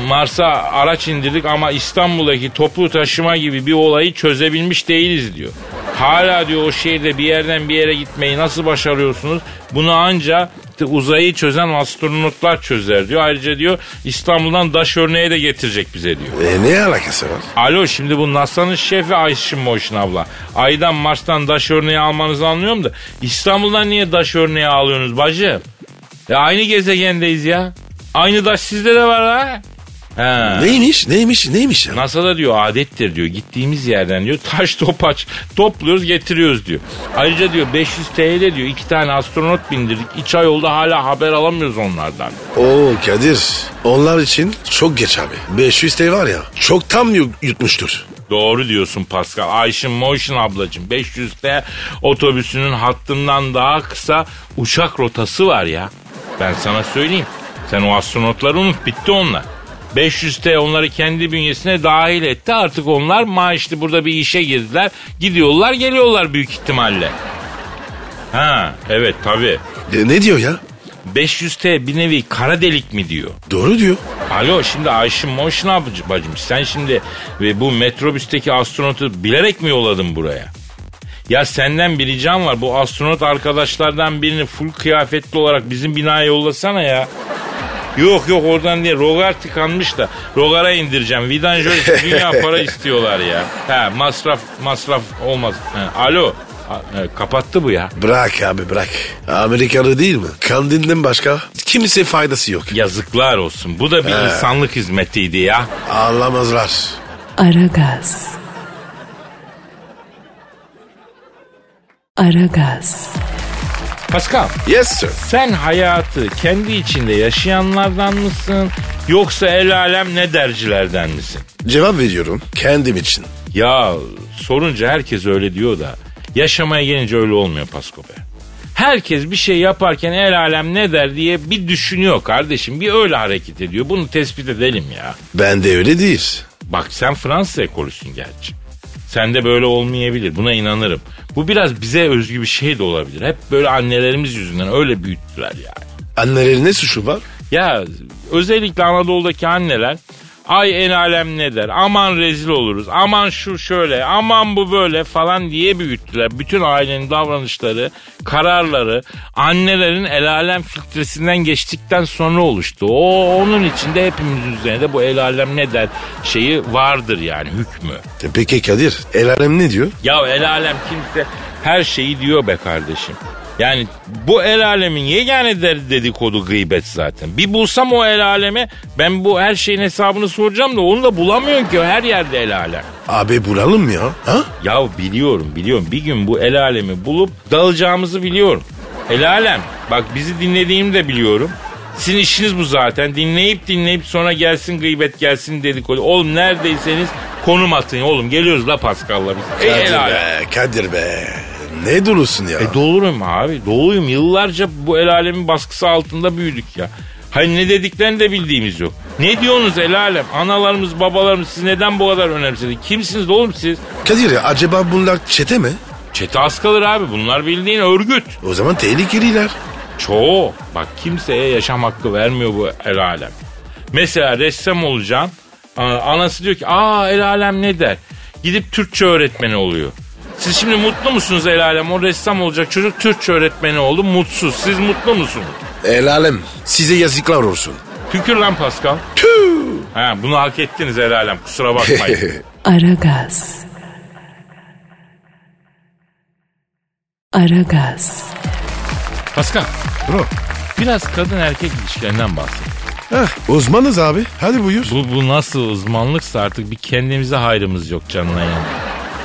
[SPEAKER 2] Mars'a araç indirdik ama İstanbul'daki toplu taşıma gibi bir olayı çözebilmiş değiliz diyor. Hala diyor o şehirde bir yerden bir yere gitmeyi nasıl başarıyorsunuz? Bunu anca uzayı çözen astronotlar çözer diyor. Ayrıca diyor İstanbul'dan daş örneği de getirecek bize diyor.
[SPEAKER 3] E ne alakası var?
[SPEAKER 2] Alo şimdi bu NASA'nın şefi Ayşin Moşin abla. Aydan Mars'tan daş örneği almanızı anlıyorum da İstanbul'dan niye daş örneği alıyorsunuz bacı? Ya aynı gezegendeyiz ya. Aynı daş sizde de var ha. He.
[SPEAKER 3] Neymiş neymiş neymiş ya?
[SPEAKER 2] NASA'da diyor adettir diyor gittiğimiz yerden diyor taş topaç topluyoruz getiriyoruz diyor. Ayrıca diyor 500 TL diyor iki tane astronot bindirdik. İç ay oldu hala haber alamıyoruz onlardan.
[SPEAKER 3] Oo Kadir onlar için çok geç abi. 500 TL var ya çok tam yu- yutmuştur.
[SPEAKER 2] Doğru diyorsun Pascal. Ayşin Motion ablacığım 500'te otobüsünün hattından daha kısa uçak rotası var ya. Ben sana söyleyeyim. Sen o astronotları unut bitti onlar. 500T onları kendi bünyesine dahil etti. Artık onlar maaşlı burada bir işe girdiler. Gidiyorlar geliyorlar büyük ihtimalle. Ha evet tabii.
[SPEAKER 3] E, ne diyor ya?
[SPEAKER 2] 500T bir nevi kara delik mi diyor.
[SPEAKER 3] Doğru diyor.
[SPEAKER 2] Alo şimdi Ayşin Moşin abici- bacım sen şimdi ve bu metrobüsteki astronotu bilerek mi yolladın buraya? Ya senden bir ricam var bu astronot arkadaşlardan birini full kıyafetli olarak bizim binaya yollasana ya. Yok yok oradan diye Rogar tıkanmış da Rogar'a indireceğim. Vidan Jolisi dünya para istiyorlar ya. Ha masraf masraf olmaz. Ha, alo A- e, kapattı bu ya.
[SPEAKER 3] Bırak abi bırak. Amerikalı değil mi? Kandilden başka kimse faydası yok.
[SPEAKER 2] Yazıklar olsun. Bu da bir insanlık hizmetiydi ya.
[SPEAKER 3] Anlamazlar.
[SPEAKER 1] Aragaz. Aragaz.
[SPEAKER 2] Pascal.
[SPEAKER 3] Yes sir.
[SPEAKER 2] Sen hayatı kendi içinde yaşayanlardan mısın yoksa el alem ne dercilerden misin?
[SPEAKER 3] Cevap veriyorum kendim için.
[SPEAKER 2] Ya sorunca herkes öyle diyor da yaşamaya gelince öyle olmuyor Pasko be. Herkes bir şey yaparken el alem ne der diye bir düşünüyor kardeşim. Bir öyle hareket ediyor. Bunu tespit edelim ya.
[SPEAKER 3] Ben de öyle değil.
[SPEAKER 2] Bak sen Fransız ekolüsün gerçi. Sende böyle olmayabilir. Buna inanırım. Bu biraz bize özgü bir şey de olabilir. Hep böyle annelerimiz yüzünden öyle büyüttüler yani.
[SPEAKER 3] Annelerin ne suçu var?
[SPEAKER 2] Ya özellikle Anadolu'daki anneler ay en alem ne der aman rezil oluruz aman şu şöyle aman bu böyle falan diye büyüttüler. Bütün ailenin davranışları kararları annelerin el alem filtresinden geçtikten sonra oluştu. O onun içinde hepimizin üzerinde bu el alem ne der şeyi vardır yani hükmü.
[SPEAKER 3] E Peki Kadir el alem ne diyor?
[SPEAKER 2] Ya el alem kimse her şeyi diyor be kardeşim. Yani bu el alemin yegane der dedikodu gıybet zaten. Bir bulsam o el alemi ben bu her şeyin hesabını soracağım da onu da bulamıyorum ki her yerde el alem.
[SPEAKER 3] Abi bulalım ya. Ha?
[SPEAKER 2] Ya biliyorum biliyorum bir gün bu el alemi bulup dalacağımızı biliyorum. El alem bak bizi dinlediğimi de biliyorum. Sizin işiniz bu zaten. Dinleyip dinleyip sonra gelsin gıybet gelsin dedikodu. Oğlum neredeyseniz konum atın oğlum. Geliyoruz la Pascal'la biz. Ey el
[SPEAKER 3] Kadir
[SPEAKER 2] alem.
[SPEAKER 3] be Kadir be. Ne dolusun ya?
[SPEAKER 2] E dolurum abi doluyum. Yıllarca bu el alemin baskısı altında büyüdük ya. Hani ne dediklerini de bildiğimiz yok. Ne diyorsunuz el alem? Analarımız babalarımız siz neden bu kadar önemsedi? Kimsiniz oğlum siz?
[SPEAKER 3] Kadir ya acaba bunlar çete mi?
[SPEAKER 2] Çete az kalır abi bunlar bildiğin örgüt.
[SPEAKER 3] O zaman tehlikeliler.
[SPEAKER 2] Çoğu. Bak kimseye yaşam hakkı vermiyor bu el alem. Mesela ressam olacaksın. a- Anası diyor ki aa el alem ne der? Gidip Türkçe öğretmeni oluyor. Siz şimdi mutlu musunuz el alem? O ressam olacak çocuk Türkçe öğretmeni oldu mutsuz. Siz mutlu musunuz?
[SPEAKER 3] El alem size yazıklar olsun.
[SPEAKER 2] Tükür lan Pascal.
[SPEAKER 3] Tüh!
[SPEAKER 2] Ha, bunu hak ettiniz el alem kusura bakmayın.
[SPEAKER 1] Aragaz. Aragaz.
[SPEAKER 2] Pascal
[SPEAKER 3] Bro.
[SPEAKER 2] biraz kadın erkek ilişkilerinden bahset.
[SPEAKER 3] Heh, uzmanız abi. Hadi buyur.
[SPEAKER 2] Bu, bu nasıl uzmanlıksa artık bir kendimize hayrımız yok canına yani.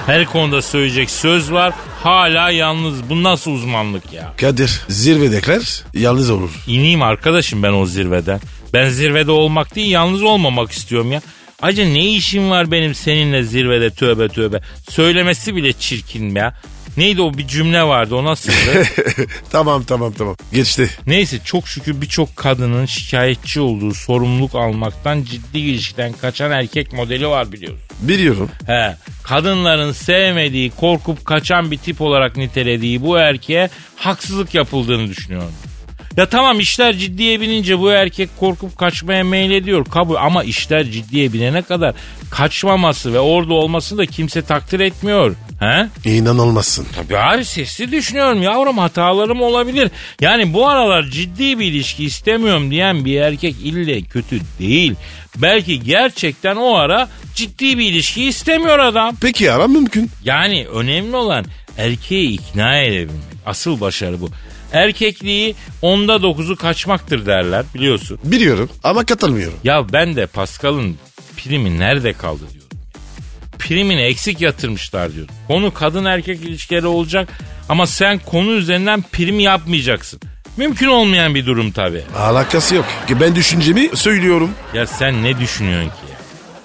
[SPEAKER 2] Her konuda söyleyecek söz var hala yalnız. Bu nasıl uzmanlık ya?
[SPEAKER 3] Kadir zirvedekiler yalnız olur.
[SPEAKER 2] İneyim arkadaşım ben o zirveden. Ben zirvede olmak değil yalnız olmamak istiyorum ya. Acı ne işim var benim seninle zirvede tövbe tövbe. Söylemesi bile çirkin ya. Neydi o bir cümle vardı o nasıldı?
[SPEAKER 3] tamam tamam tamam. Geçti.
[SPEAKER 2] Neyse çok şükür birçok kadının şikayetçi olduğu sorumluluk almaktan ciddi ilişkiden kaçan erkek modeli var biliyoruz.
[SPEAKER 3] Biliyorum.
[SPEAKER 2] He, kadınların sevmediği, korkup kaçan bir tip olarak nitelediği bu erkeğe haksızlık yapıldığını düşünüyorum. Ya tamam işler ciddiye binince bu erkek korkup kaçmaya meylediyor kabul ama işler ciddiye binene kadar kaçmaması ve orada olması da kimse takdir etmiyor. He?
[SPEAKER 3] İnanılmazsın.
[SPEAKER 2] Tabii abi sesli düşünüyorum yavrum hatalarım olabilir. Yani bu aralar ciddi bir ilişki istemiyorum diyen bir erkek ille kötü değil. Belki gerçekten o ara ciddi bir ilişki istemiyor adam.
[SPEAKER 3] Peki ara mümkün.
[SPEAKER 2] Yani önemli olan erkeği ikna edebilmek. Asıl başarı bu. Erkekliği onda dokuzu kaçmaktır derler biliyorsun.
[SPEAKER 3] Biliyorum ama katılmıyorum.
[SPEAKER 2] Ya ben de Pascal'ın primi nerede kaldı diyorum. Primini eksik yatırmışlar diyor. Konu kadın erkek ilişkileri olacak ama sen konu üzerinden prim yapmayacaksın. Mümkün olmayan bir durum tabii.
[SPEAKER 3] Alakası yok. Ki Ben düşüncemi söylüyorum.
[SPEAKER 2] Ya sen ne düşünüyorsun ki? ya?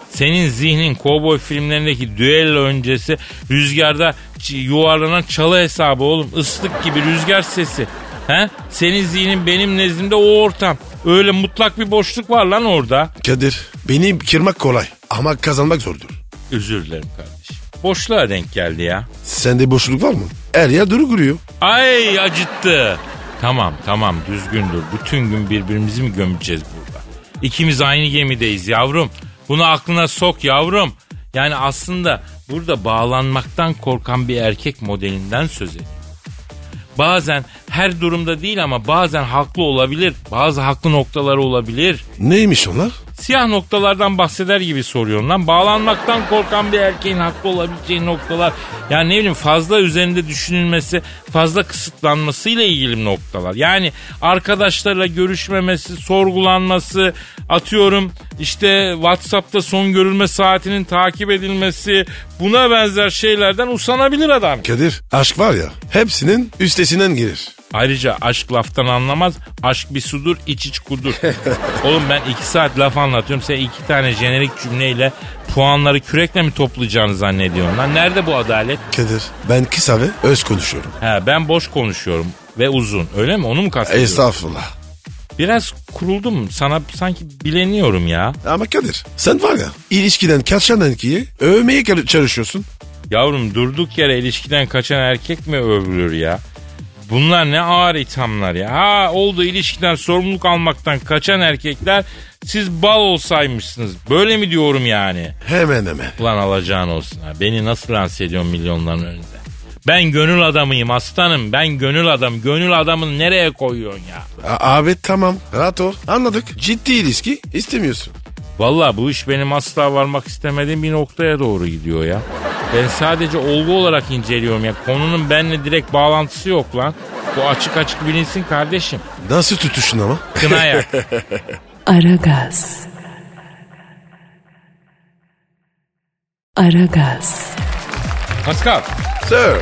[SPEAKER 2] Senin zihnin kovboy filmlerindeki düello öncesi rüzgarda ç- yuvarlanan çalı hesabı oğlum. Islık gibi rüzgar sesi. He? Senin zihnin benim nezdimde o ortam. Öyle mutlak bir boşluk var lan orada.
[SPEAKER 3] Kadir beni kırmak kolay ama kazanmak zordur.
[SPEAKER 2] Özür dilerim kardeşim. Boşluğa denk geldi ya.
[SPEAKER 3] Sende boşluk var mı? Her yer duru kuruyor.
[SPEAKER 2] Ay acıttı. Tamam tamam düzgündür. Bütün gün birbirimizi mi gömeceğiz burada? İkimiz aynı gemideyiz yavrum. Bunu aklına sok yavrum. Yani aslında burada bağlanmaktan korkan bir erkek modelinden söz ediyor. Bazen her durumda değil ama bazen haklı olabilir. Bazı haklı noktaları olabilir.
[SPEAKER 3] Neymiş onlar?
[SPEAKER 2] Siyah noktalardan bahseder gibi soruyorum lan. Bağlanmaktan korkan bir erkeğin haklı olabileceği noktalar. Yani ne bileyim fazla üzerinde düşünülmesi, fazla kısıtlanmasıyla ilgili noktalar. Yani arkadaşlarla görüşmemesi, sorgulanması, atıyorum işte WhatsApp'ta son görülme saatinin takip edilmesi, buna benzer şeylerden usanabilir adam.
[SPEAKER 3] Kadir aşk var ya hepsinin üstesinden gelir.
[SPEAKER 2] Ayrıca aşk laftan anlamaz. Aşk bir sudur iç iç kudur. Oğlum ben iki saat laf anlatıyorum. Sen iki tane jenerik cümleyle puanları kürekle mi toplayacağını zannediyorsun lan? Nerede bu adalet?
[SPEAKER 3] Kadir ben kısa ve öz konuşuyorum.
[SPEAKER 2] He ben boş konuşuyorum ve uzun. Öyle mi? Onu mu kastediyorsun?
[SPEAKER 3] Estağfurullah.
[SPEAKER 2] Biraz kuruldum. Sana sanki bileniyorum ya.
[SPEAKER 3] Ama Kadir sen var ya ilişkiden kaçan erkeği övmeye kal- çalışıyorsun.
[SPEAKER 2] Yavrum durduk yere ilişkiden kaçan erkek mi övülür ya? Bunlar ne ağır ithamlar ya. Ha oldu ilişkiden sorumluluk almaktan kaçan erkekler siz bal olsaymışsınız. Böyle mi diyorum yani?
[SPEAKER 3] Hemen hemen.
[SPEAKER 2] Ulan alacağın olsun ha. Beni nasıl lanse ediyorsun milyonların önünde? Ben gönül adamıyım aslanım. Ben gönül adam. Gönül adamını nereye koyuyorsun ya?
[SPEAKER 3] A- abi tamam rahat ol anladık. Ciddi ilişki istemiyorsun.
[SPEAKER 2] Valla bu iş benim asla varmak istemediğim bir noktaya doğru gidiyor ya. Ben sadece olgu olarak inceliyorum ya. Konunun benimle direkt bağlantısı yok lan. Bu açık açık bilinsin kardeşim.
[SPEAKER 3] Nasıl tutuşun ama?
[SPEAKER 2] Kına yak.
[SPEAKER 1] Aragaz. Aragaz.
[SPEAKER 2] Pascal,
[SPEAKER 3] Sir.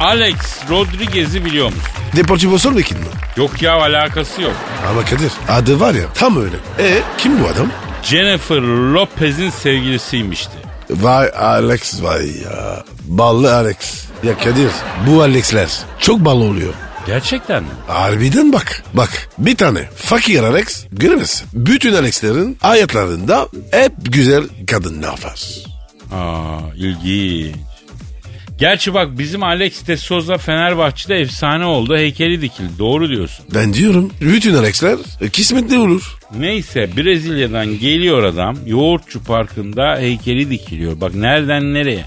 [SPEAKER 2] Alex Rodriguez'i biliyor musun?
[SPEAKER 3] Deportivo Solbekin mi?
[SPEAKER 2] Yok ya alakası yok.
[SPEAKER 3] Ama Kadir adı var ya tam öyle. E kim bu adam?
[SPEAKER 2] Jennifer Lopez'in sevgilisiymişti.
[SPEAKER 3] Vay Alex vay ya. Ballı Alex. Ya Kadir bu Alex'ler çok ballı oluyor.
[SPEAKER 2] Gerçekten mi?
[SPEAKER 3] Harbiden bak. Bak bir tane fakir Alex göremezsin. Bütün Alex'lerin hayatlarında hep güzel kadınlar var.
[SPEAKER 2] Aa ilginç. Gerçi bak bizim Alex de Souza Fenerbahçe'de efsane oldu. Heykeli dikildi. Doğru diyorsun.
[SPEAKER 3] Ben diyorum bütün Alex'ler e, kismetli olur.
[SPEAKER 2] Neyse Brezilya'dan geliyor adam. Yoğurtçu Parkı'nda heykeli dikiliyor. Bak nereden nereye.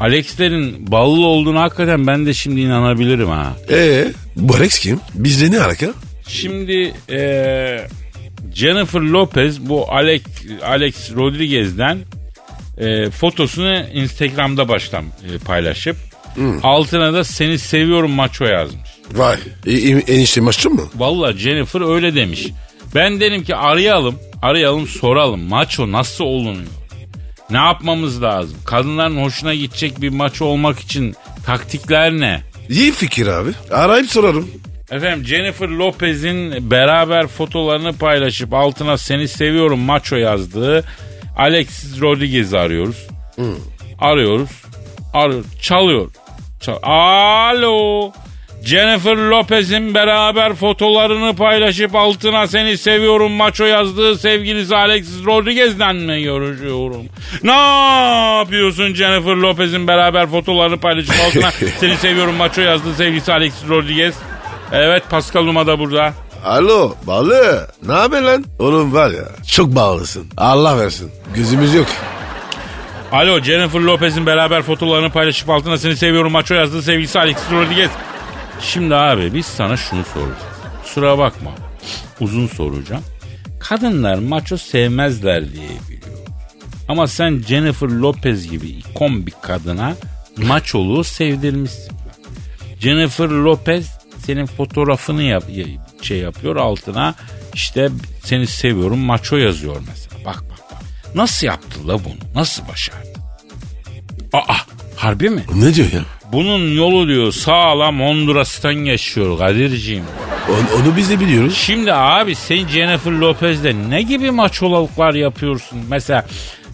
[SPEAKER 2] Alex'lerin ballı olduğunu hakikaten ben de şimdi inanabilirim ha.
[SPEAKER 3] E bu Alex kim? Bizde ne alaka?
[SPEAKER 2] Şimdi eee, Jennifer Lopez bu Alex, Alex Rodriguez'den eee, fotosunu Instagram'da baştan eee, paylaşıp altına da seni seviyorum maço yazmış.
[SPEAKER 3] Vay. E, e, enişte maççı mı?
[SPEAKER 2] Vallahi Jennifer öyle demiş. Ben dedim ki arayalım, arayalım soralım. Maço nasıl olunuyor? Ne yapmamız lazım? Kadınların hoşuna gidecek bir maço olmak için taktikler ne?
[SPEAKER 3] İyi fikir abi. Arayıp sorarım.
[SPEAKER 2] Efendim Jennifer Lopez'in beraber fotolarını paylaşıp altına seni seviyorum maço yazdığı Alexis Rodriguez'i arıyoruz. Arıyoruz. Arıyor. Çalıyor. Çal- Alo. Jennifer Lopez'in beraber fotolarını paylaşıp altına seni seviyorum maço yazdığı sevgilisi Alexis Rodriguez'den mi görüşüyorum? Ne yapıyorsun Jennifer Lopez'in beraber fotolarını paylaşıp altına seni seviyorum maço yazdığı sevgilisi Alexis Rodriguez? Evet Pascal Numa da burada.
[SPEAKER 3] Alo balı ne haber lan? Oğlum var ya çok bağlısın. Allah versin. Gözümüz yok.
[SPEAKER 2] Alo Jennifer Lopez'in beraber fotolarını paylaşıp altına seni seviyorum maço yazdığı sevgilisi Alex Rodriguez. Şimdi abi biz sana şunu soracağız. Kusura bakma. Uzun soracağım. Kadınlar maço sevmezler diye biliyorum. Ama sen Jennifer Lopez gibi ikon bir kadına maçoluğu sevdirmişsin. Jennifer Lopez senin fotoğrafını yap, şey yapıyor altına işte seni seviyorum maço yazıyor mesela. Bak bak bak. Nasıl yaptı la bunu? Nasıl başardı? Aa harbi mi?
[SPEAKER 3] Ne diyor ya?
[SPEAKER 2] Bunun yolu diyor sağlam Honduras'tan geçiyor Kadir'ciğim.
[SPEAKER 3] On- onu biz de biliyoruz.
[SPEAKER 2] Şimdi abi sen Jennifer Lopez'le ne gibi maçolalıklar yapıyorsun? Mesela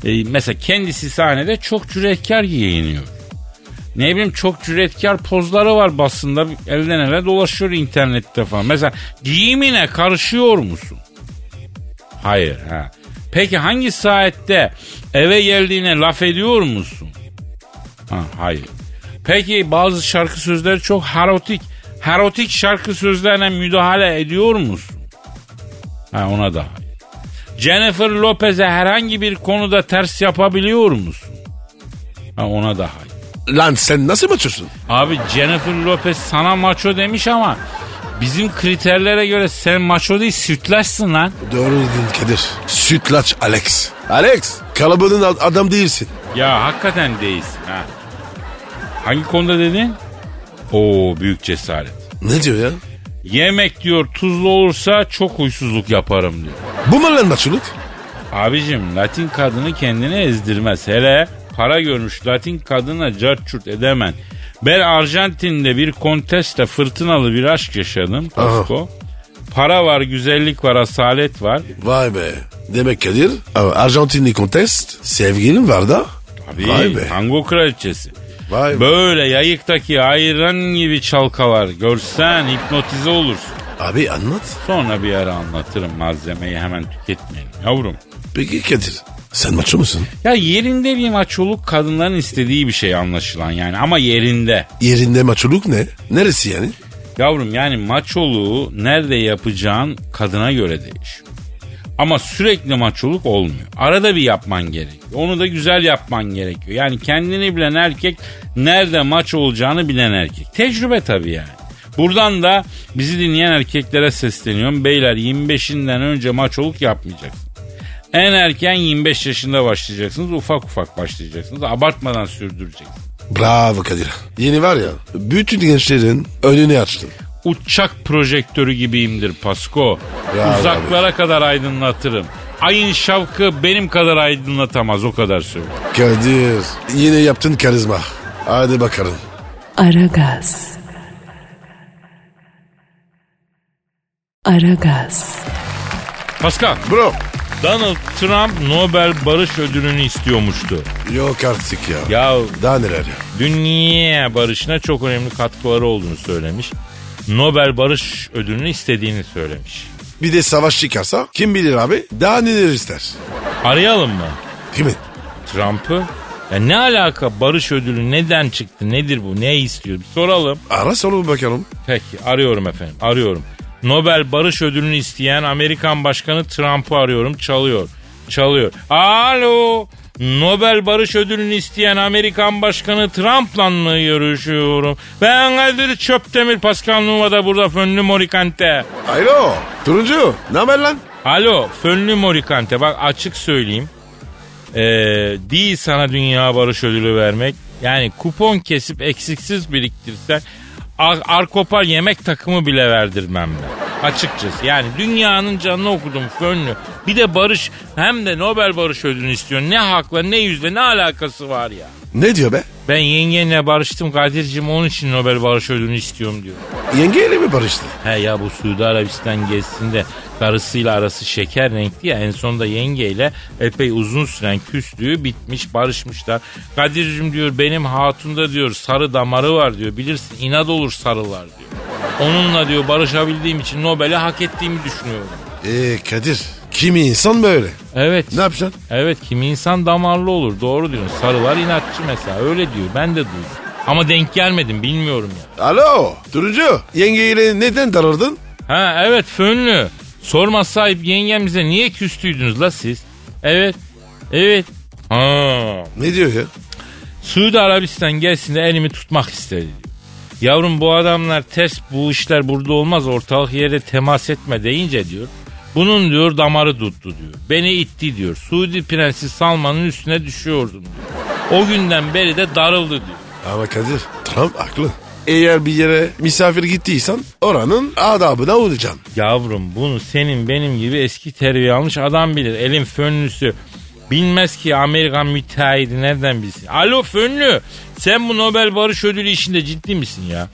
[SPEAKER 2] e, mesela kendisi sahnede çok cüretkar giyiniyor. Ne bileyim çok cüretkar pozları var basında. Elden ele dolaşıyor internette falan. Mesela giyimine karışıyor musun? Hayır ha. Peki hangi saatte eve geldiğine laf ediyor musun? Ha, hayır. Peki bazı şarkı sözleri çok harotik. Harotik şarkı sözlerine müdahale ediyor musun? Ha, ona da hayır. Jennifer Lopez'e herhangi bir konuda ters yapabiliyor musun? Ha, ona da hayır.
[SPEAKER 3] Lan sen nasıl maçıyorsun?
[SPEAKER 2] Abi Jennifer Lopez sana maço demiş ama bizim kriterlere göre sen maço değil sütlaçsın lan.
[SPEAKER 3] Doğru dedin Kadir. Sütlaç Alex. Alex kalabalığın ad- adam değilsin.
[SPEAKER 2] Ya hakikaten değilsin ha. Hangi konuda dedin? Oo büyük cesaret.
[SPEAKER 3] Ne diyor ya?
[SPEAKER 2] Yemek diyor tuzlu olursa çok huysuzluk yaparım diyor.
[SPEAKER 3] Bu mu lan maçoluk?
[SPEAKER 2] Abicim Latin kadını kendini ezdirmez. Hele para görmüş Latin kadına carçurt edemen. Ben Arjantin'de bir konteste fırtınalı bir aşk yaşadım.
[SPEAKER 3] Ah.
[SPEAKER 2] Pasko. Para var, güzellik var, asalet var.
[SPEAKER 3] Vay be. Demek Kadir Ar- Arjantinli kontest sevgilin var da.
[SPEAKER 2] Tabii,
[SPEAKER 3] Vay be.
[SPEAKER 2] tango kraliçesi.
[SPEAKER 3] Vay be.
[SPEAKER 2] Böyle yayıktaki ayran gibi çalkalar. Görsen hipnotize olursun.
[SPEAKER 3] Abi anlat.
[SPEAKER 2] Sonra bir ara anlatırım malzemeyi hemen tüketmeyelim yavrum.
[SPEAKER 3] Peki Kadir sen maço musun?
[SPEAKER 2] Ya yerinde bir maçoluk kadınların istediği bir şey anlaşılan yani ama yerinde.
[SPEAKER 3] Yerinde maçoluk ne? Neresi yani?
[SPEAKER 2] Yavrum yani maçoluğu nerede yapacağın kadına göre değişiyor. Ama sürekli maçoluk olmuyor. Arada bir yapman gerekiyor. Onu da güzel yapman gerekiyor. Yani kendini bilen erkek nerede maç olacağını bilen erkek. Tecrübe tabii yani. Buradan da bizi dinleyen erkeklere sesleniyorum. Beyler 25'inden önce maçoluk yapmayacaksınız. En erken 25 yaşında başlayacaksınız. Ufak ufak başlayacaksınız. Abartmadan sürdüreceksiniz.
[SPEAKER 3] Bravo Kadir. Yeni var ya bütün gençlerin önünü açtın.
[SPEAKER 2] uçak projektörü gibiyimdir Pasko.
[SPEAKER 3] Ya
[SPEAKER 2] Uzaklara kadar aydınlatırım. Ayın şavkı benim kadar aydınlatamaz o kadar söylüyorum.
[SPEAKER 3] Kadir yine yaptın karizma. Hadi bakalım.
[SPEAKER 1] Aragaz. Aragaz.
[SPEAKER 2] Pascal,
[SPEAKER 3] Bro.
[SPEAKER 2] Donald Trump Nobel Barış Ödülünü istiyormuştu.
[SPEAKER 3] Yok artık ya.
[SPEAKER 2] Ya
[SPEAKER 3] Daha neler ya.
[SPEAKER 2] dünya barışına çok önemli katkıları olduğunu söylemiş. Nobel Barış Ödülünü istediğini söylemiş.
[SPEAKER 3] Bir de savaş çıkarsa kim bilir abi daha neler ister.
[SPEAKER 2] Arayalım mı
[SPEAKER 3] Değil mi?
[SPEAKER 2] Trump'ı? Ya ne alaka barış ödülü neden çıktı nedir bu ne istiyor bir soralım.
[SPEAKER 3] Ara sorun bakalım.
[SPEAKER 2] Peki arıyorum efendim arıyorum. Nobel Barış Ödülünü isteyen Amerikan Başkanı Trump'ı arıyorum çalıyor. Çalıyor. Alo Nobel Barış Ödülünü isteyen Amerikan Başkanı Trump'la mı görüşüyorum? Ben Kadir Çöptemir Pascal Numa da burada Fönlü Morikante.
[SPEAKER 3] Alo. Turuncu. Ne haber lan?
[SPEAKER 2] Alo Fönlü Morikante bak açık söyleyeyim. Ee, değil sana dünya barış ödülü vermek. Yani kupon kesip eksiksiz biriktirsen Ar- Arkopar yemek takımı bile verdirmem ben. Açıkçası yani dünyanın canını okudum Fönlü. Bir de barış hem de Nobel barış ödülünü istiyor. Ne hakla ne yüzle ne alakası var ya.
[SPEAKER 3] Ne diyor be?
[SPEAKER 2] Ben yengenle barıştım Kadir'cim onun için Nobel barış ödülünü istiyorum diyor.
[SPEAKER 3] Yengeyle mi barıştı?
[SPEAKER 2] He ya bu Suudi Arabistan gezisinde karısıyla arası şeker renkli ya en sonunda yengeyle epey uzun süren küslüğü bitmiş barışmışlar. Kadir'cim diyor benim hatunda diyor sarı damarı var diyor bilirsin inat olur sarılar diyor. Onunla diyor barışabildiğim için Nobel'i hak ettiğimi düşünüyorum.
[SPEAKER 3] Eee Ee, Kadir. Kimi insan böyle?
[SPEAKER 2] Evet.
[SPEAKER 3] Ne yapacaksın?
[SPEAKER 2] Evet kimi insan damarlı olur doğru diyorsun. Sarılar inatçı mesela öyle diyor ben de duydum. Ama denk gelmedim bilmiyorum ya.
[SPEAKER 3] Alo. Turuncu. Yengeyle neden darırdın?
[SPEAKER 2] Ha evet fönlü. Sorma sahip yengemize niye küstüydünüz la siz? Evet. Evet. Ha.
[SPEAKER 3] Ne diyor ya?
[SPEAKER 2] Suudi Arabistan gelsin de elimi tutmak istedi. Yavrum bu adamlar ters bu işler burada olmaz ortalık yere temas etme deyince diyor. Bunun diyor damarı tuttu diyor. Beni itti diyor. Suudi Prensi Salman'ın üstüne düşüyordum diyor. O günden beri de darıldı diyor.
[SPEAKER 3] Ama Kadir Trump haklı. Eğer bir yere misafir gittiysen oranın adabına olacaksın.
[SPEAKER 2] Yavrum bunu senin benim gibi eski terbiye almış adam bilir. Elin fönlüsü. Bilmez ki Amerikan müteahhidi nereden bilsin. Alo fönlü sen bu Nobel Barış Ödülü işinde ciddi misin ya?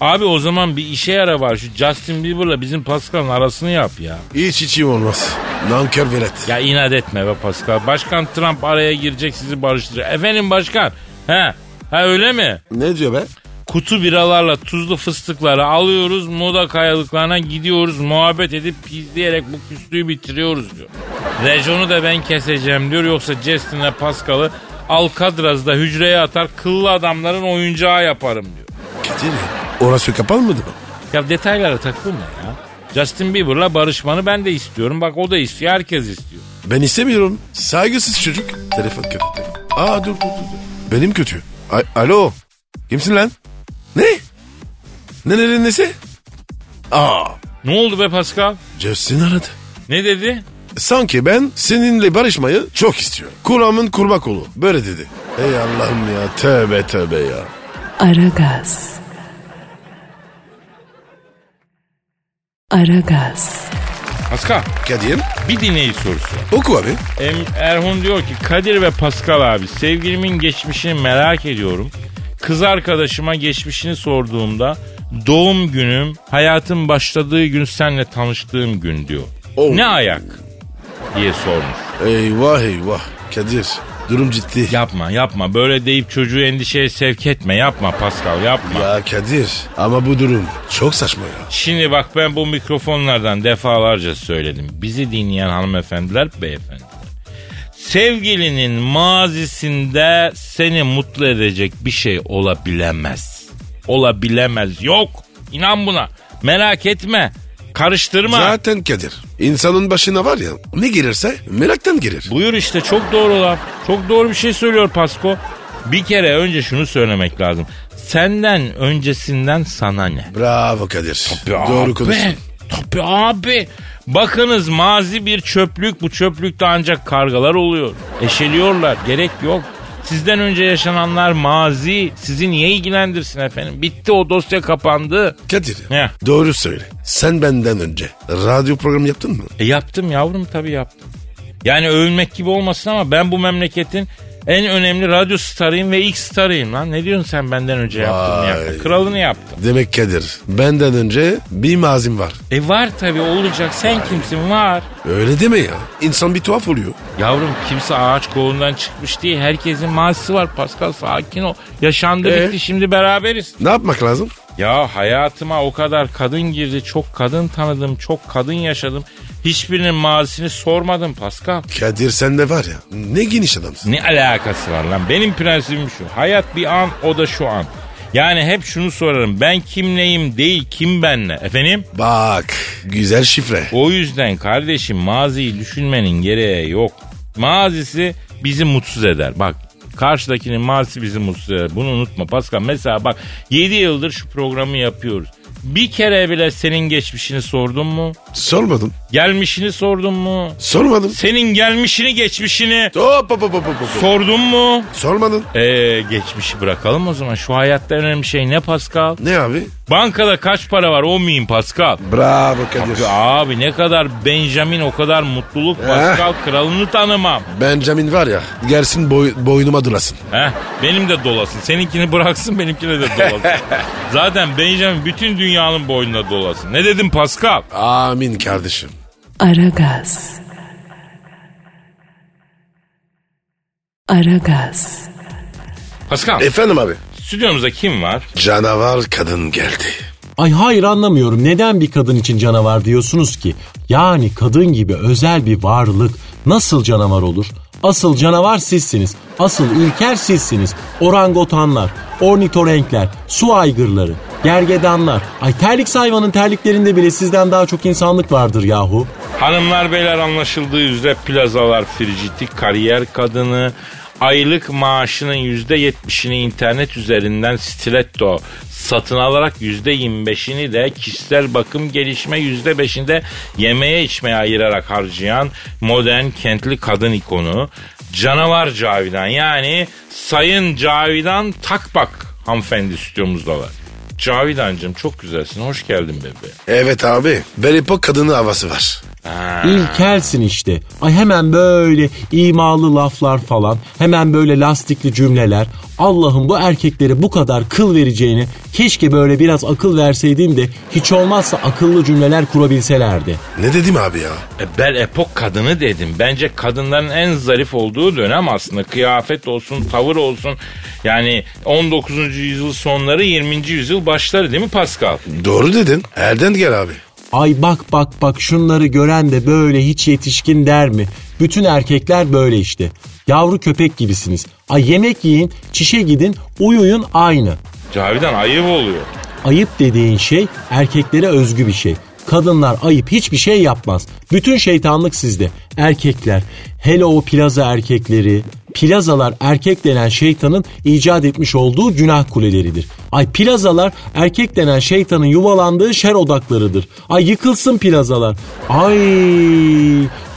[SPEAKER 2] Abi o zaman bir işe yara var şu Justin Bieber'la bizim Pascal'ın arasını yap ya.
[SPEAKER 3] Hiç içim olmaz. Nankör velet.
[SPEAKER 2] Ya inat etme be Pascal. Başkan Trump araya girecek sizi barıştıracak. Efendim başkan. He. Ha öyle mi?
[SPEAKER 3] Ne diyor be?
[SPEAKER 2] Kutu biralarla tuzlu fıstıkları alıyoruz. Moda kayalıklarına gidiyoruz. Muhabbet edip pizleyerek bu küslüğü bitiriyoruz diyor. Rejonu da ben keseceğim diyor. Yoksa Justin'le Pascal'ı Alcatraz'da hücreye atar. Kıllı adamların oyuncağı yaparım diyor.
[SPEAKER 3] Kadir ya, orası kapanmadı mı?
[SPEAKER 2] Ya detaylara takılma ya. Justin Bieber'la barışmanı ben de istiyorum. Bak o da istiyor. Herkes istiyor.
[SPEAKER 3] Ben istemiyorum. Saygısız çocuk. Telefon kötü. Aa dur dur dur. dur. Benim kötü. A- Alo. Kimsin lan? Ne? Nelerin nesi? Aa.
[SPEAKER 2] Ne oldu be Pascal?
[SPEAKER 3] Justin aradı.
[SPEAKER 2] Ne dedi?
[SPEAKER 3] Sanki ben seninle barışmayı çok istiyorum. Kulağımın kurmak kolu. Böyle dedi. Ey Allah'ım ya tövbe tövbe ya.
[SPEAKER 1] Aragaz. Aragaz.
[SPEAKER 2] Pascal
[SPEAKER 3] Kadir
[SPEAKER 2] bir dinleyici sorusu.
[SPEAKER 3] oku abi.
[SPEAKER 2] Em- Erhun diyor ki Kadir ve Pascal abi sevgilimin geçmişini merak ediyorum. Kız arkadaşıma geçmişini sorduğumda doğum günüm hayatım başladığı gün senle tanıştığım gün diyor.
[SPEAKER 3] Oh.
[SPEAKER 2] Ne ayak diye sormuş.
[SPEAKER 3] Eyvah eyvah. Kadir durum ciddi. Ya,
[SPEAKER 2] Yapma yapma böyle deyip çocuğu endişeye sevk etme yapma Pascal yapma.
[SPEAKER 3] Kadir ama bu durum çok saçma ya.
[SPEAKER 2] Şimdi bak ben bu mikrofonlardan defalarca söyledim. Bizi dinleyen hanımefendiler, beyefendiler. Sevgilinin mazisinde seni mutlu edecek bir şey olabilemez. Olabilemez. Yok. İnan buna. Merak etme. Karıştırma.
[SPEAKER 3] Zaten Kadir insanın başına var ya ne gelirse meraktan gelir.
[SPEAKER 2] Buyur işte çok doğru laf. Çok doğru bir şey söylüyor Pasko. Bir kere önce şunu söylemek lazım. Senden öncesinden sana ne?
[SPEAKER 3] Bravo Kadir.
[SPEAKER 2] Tabii
[SPEAKER 3] Doğru
[SPEAKER 2] abi.
[SPEAKER 3] konuştun.
[SPEAKER 2] Tabii abi. Bakınız mazi bir çöplük bu çöplükte ancak kargalar oluyor. Eşeliyorlar gerek yok. Sizden önce yaşananlar mazi sizi niye ilgilendirsin efendim? Bitti o dosya kapandı.
[SPEAKER 3] Kadir
[SPEAKER 2] Ne?
[SPEAKER 3] doğru söyle. Sen benden önce radyo programı yaptın mı?
[SPEAKER 2] E yaptım yavrum tabii yaptım. Yani övünmek gibi olmasın ama ben bu memleketin en önemli radyo starıyım ve ilk starıyım lan. Ne diyorsun sen benden önce yaptım
[SPEAKER 3] Vay.
[SPEAKER 2] yaptım. Kralını yaptım.
[SPEAKER 3] Demek Kadir benden önce bir mazim var.
[SPEAKER 2] E var tabii olacak. Sen kimsin? Var.
[SPEAKER 3] Öyle deme ya. İnsan bir tuhaf oluyor.
[SPEAKER 2] Yavrum kimse ağaç kolundan çıkmış değil. Herkesin mazisi var Pascal sakin ol. Yaşandı
[SPEAKER 3] Ee?
[SPEAKER 2] bitti şimdi beraberiz.
[SPEAKER 3] Ne yapmak lazım?
[SPEAKER 2] Ya hayatıma o kadar kadın girdi. Çok kadın tanıdım. Çok kadın yaşadım. Hiçbirinin mazisini sormadım Pascal.
[SPEAKER 3] Kadir sen de var ya ne geniş adamsın.
[SPEAKER 2] Ne alakası var lan? Benim prensibim şu. Hayat bir an o da şu an. Yani hep şunu sorarım. Ben kim neyim değil kim ben ne? Efendim?
[SPEAKER 3] Bak güzel şifre.
[SPEAKER 2] O yüzden kardeşim maziyi düşünmenin gereği yok. Mazisi bizi mutsuz eder. Bak karşıdakinin mazisi bizi mutsuz eder. Bunu unutma Pascal. Mesela bak 7 yıldır şu programı yapıyoruz. Bir kere bile senin geçmişini sordun mu?
[SPEAKER 3] Sormadım.
[SPEAKER 2] Gelmişini sordun mu?
[SPEAKER 3] Sormadım.
[SPEAKER 2] Senin gelmişini geçmişini
[SPEAKER 3] Hop hop hop hop hop. hop.
[SPEAKER 2] sordun mu?
[SPEAKER 3] Sormadın.
[SPEAKER 2] Eee geçmişi bırakalım o zaman. Şu hayatta en önemli şey ne Pascal?
[SPEAKER 3] Ne abi?
[SPEAKER 2] Bankada kaç para var o mühim Pascal?
[SPEAKER 3] Bravo Kadir.
[SPEAKER 2] Abi, abi ne kadar Benjamin o kadar mutluluk Pascal kralını tanımam.
[SPEAKER 3] Benjamin var ya gelsin boy- boynuma durasın.
[SPEAKER 2] Heh, Eh, benim de dolasın. Seninkini bıraksın benimkine de dolasın. Zaten Benjamin bütün dünyanın boynuna dolasın. Ne dedim Pascal?
[SPEAKER 3] Amin kardeşim.
[SPEAKER 1] Aragaz. Aragaz.
[SPEAKER 2] Pascal
[SPEAKER 3] Efendim abi.
[SPEAKER 2] stüdyomuzda kim var?
[SPEAKER 3] Canavar kadın geldi.
[SPEAKER 4] Ay hayır anlamıyorum. Neden bir kadın için canavar diyorsunuz ki? Yani kadın gibi özel bir varlık nasıl canavar olur? Asıl canavar sizsiniz. Asıl ilker sizsiniz. Orangotanlar, ornitorenkler, su aygırları, gergedanlar. Ay terlik hayvanın terliklerinde bile sizden daha çok insanlık vardır yahu.
[SPEAKER 2] Hanımlar beyler anlaşıldığı üzere plazalar friciti, kariyer kadını, aylık maaşının yüzde yetmişini internet üzerinden stiletto satın alarak yüzde yirmi beşini de kişisel bakım gelişme yüzde beşinde yemeğe içmeye ayırarak harcayan modern kentli kadın ikonu canavar Cavidan yani Sayın Cavidan Takbak hanımefendi stüdyomuzdalar. Cavidancığım çok güzelsin. Hoş geldin bebeğim.
[SPEAKER 3] Evet abi. Belipo kadını havası var.
[SPEAKER 4] İlkelsin işte. Ay hemen böyle imalı laflar falan. Hemen böyle lastikli cümleler. Allah'ım bu erkeklere bu kadar kıl vereceğini keşke böyle biraz akıl verseydim de hiç olmazsa akıllı cümleler kurabilselerdi.
[SPEAKER 3] Ne dedim abi ya?
[SPEAKER 2] E ben epok kadını dedim. Bence kadınların en zarif olduğu dönem aslında. Kıyafet olsun, tavır olsun. Yani 19. yüzyıl sonları 20. yüzyıl başları değil mi Pascal?
[SPEAKER 3] Doğru dedin. Elden gel abi.
[SPEAKER 4] Ay bak bak bak şunları gören de böyle hiç yetişkin der mi? Bütün erkekler böyle işte. Yavru köpek gibisiniz. Ay yemek yiyin, çişe gidin, uyuyun aynı.
[SPEAKER 2] Cavidan ayıp oluyor.
[SPEAKER 4] Ayıp dediğin şey erkeklere özgü bir şey. Kadınlar ayıp hiçbir şey yapmaz. Bütün şeytanlık sizde. Erkekler, hele o plaza erkekleri, plazalar erkek denen şeytanın icat etmiş olduğu günah kuleleridir. Ay plazalar erkek denen şeytanın yuvalandığı şer odaklarıdır. Ay yıkılsın plazalar. Ay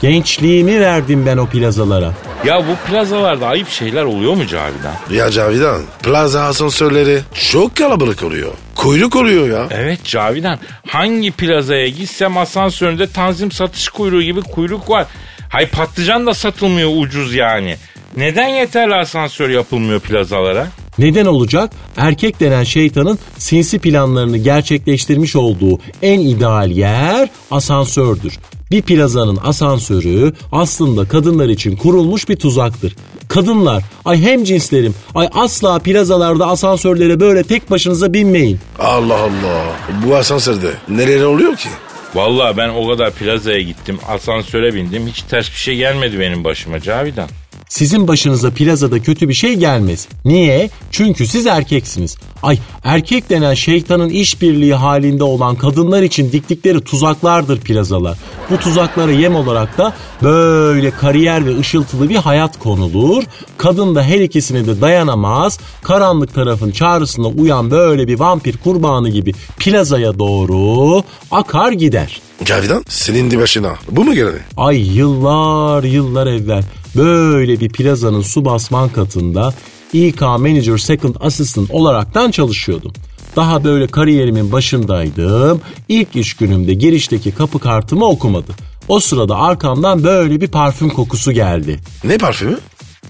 [SPEAKER 4] gençliğimi verdim ben o plazalara.
[SPEAKER 2] Ya bu plazalarda ayıp şeyler oluyor mu Cavidan?
[SPEAKER 3] Ya Cavidan plaza asansörleri çok kalabalık oluyor. Kuyruk oluyor ya.
[SPEAKER 2] Evet Cavidan. Hangi plazaya gitsem asansöründe tanzim satış kuyruğu gibi kuyruk var. Hay patlıcan da satılmıyor ucuz yani. Neden yeterli asansör yapılmıyor plazalara?
[SPEAKER 4] Neden olacak? Erkek denen şeytanın sinsi planlarını gerçekleştirmiş olduğu en ideal yer asansördür. Bir plazanın asansörü aslında kadınlar için kurulmuş bir tuzaktır. Kadınlar, ay hem cinslerim, ay asla plazalarda asansörlere böyle tek başınıza binmeyin.
[SPEAKER 3] Allah Allah. Bu asansörde neler oluyor ki?
[SPEAKER 2] Vallahi ben o kadar plazaya gittim, asansöre bindim. Hiç ters bir şey gelmedi benim başıma Cavidan.
[SPEAKER 4] Sizin başınıza plazada kötü bir şey gelmez. Niye? Çünkü siz erkeksiniz. Ay erkek denen şeytanın işbirliği halinde olan kadınlar için diktikleri tuzaklardır plazalar. Bu tuzaklara yem olarak da böyle kariyer ve ışıltılı bir hayat konulur. Kadın da her ikisine de dayanamaz. Karanlık tarafın çağrısına uyan böyle bir vampir kurbanı gibi plazaya doğru akar gider.
[SPEAKER 3] Cavidan senin de başına. Bu mu geleni?
[SPEAKER 4] Ay yıllar yıllar evvel böyle bir plazanın su basman katında İK Manager Second Assistant olaraktan çalışıyordum. Daha böyle kariyerimin başındaydım. İlk iş günümde girişteki kapı kartımı okumadı. O sırada arkamdan böyle bir parfüm kokusu geldi.
[SPEAKER 3] Ne parfümü?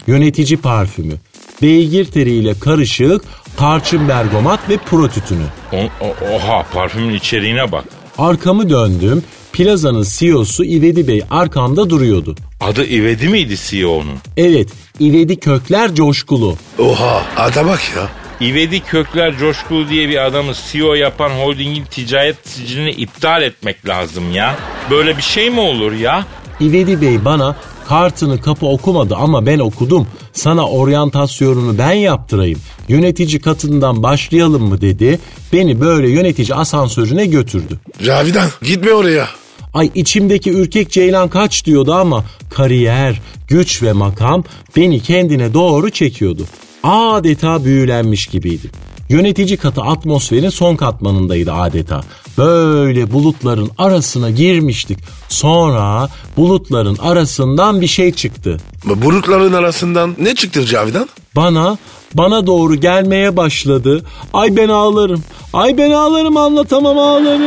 [SPEAKER 4] Yönetici parfümü. Beygir teriyle karışık tarçın bergamat ve pro tütünü.
[SPEAKER 2] O- o- oha parfümün içeriğine bak.
[SPEAKER 4] Arkamı döndüm. Plazanın CEO'su İvedi Bey arkamda duruyordu.
[SPEAKER 2] Adı İvedi miydi E CEO'nun?
[SPEAKER 4] Evet, İvedi kökler coşkulu.
[SPEAKER 3] Oha ada bak ya.
[SPEAKER 2] İvedi Kökler Coşkulu diye bir adamı CEO yapan holdingin ticaret sicilini iptal etmek lazım ya. Böyle bir şey mi olur ya?
[SPEAKER 4] İvedi Bey bana kartını kapı okumadı ama ben okudum. Sana oryantasyonunu ben yaptırayım. Yönetici katından başlayalım mı dedi. Beni böyle yönetici asansörüne götürdü.
[SPEAKER 3] Cavidan gitme oraya.
[SPEAKER 4] Ay içimdeki ürkek ceylan kaç diyordu ama kariyer, güç ve makam beni kendine doğru çekiyordu. Adeta büyülenmiş gibiydim. Yönetici katı atmosferin son katmanındaydı adeta. Böyle bulutların arasına girmiştik. Sonra bulutların arasından bir şey çıktı.
[SPEAKER 3] Bu Bulutların arasından ne çıktı Cavidan?
[SPEAKER 4] Bana, bana doğru gelmeye başladı. Ay ben ağlarım. Ay ben ağlarım anlatamam ağlarım.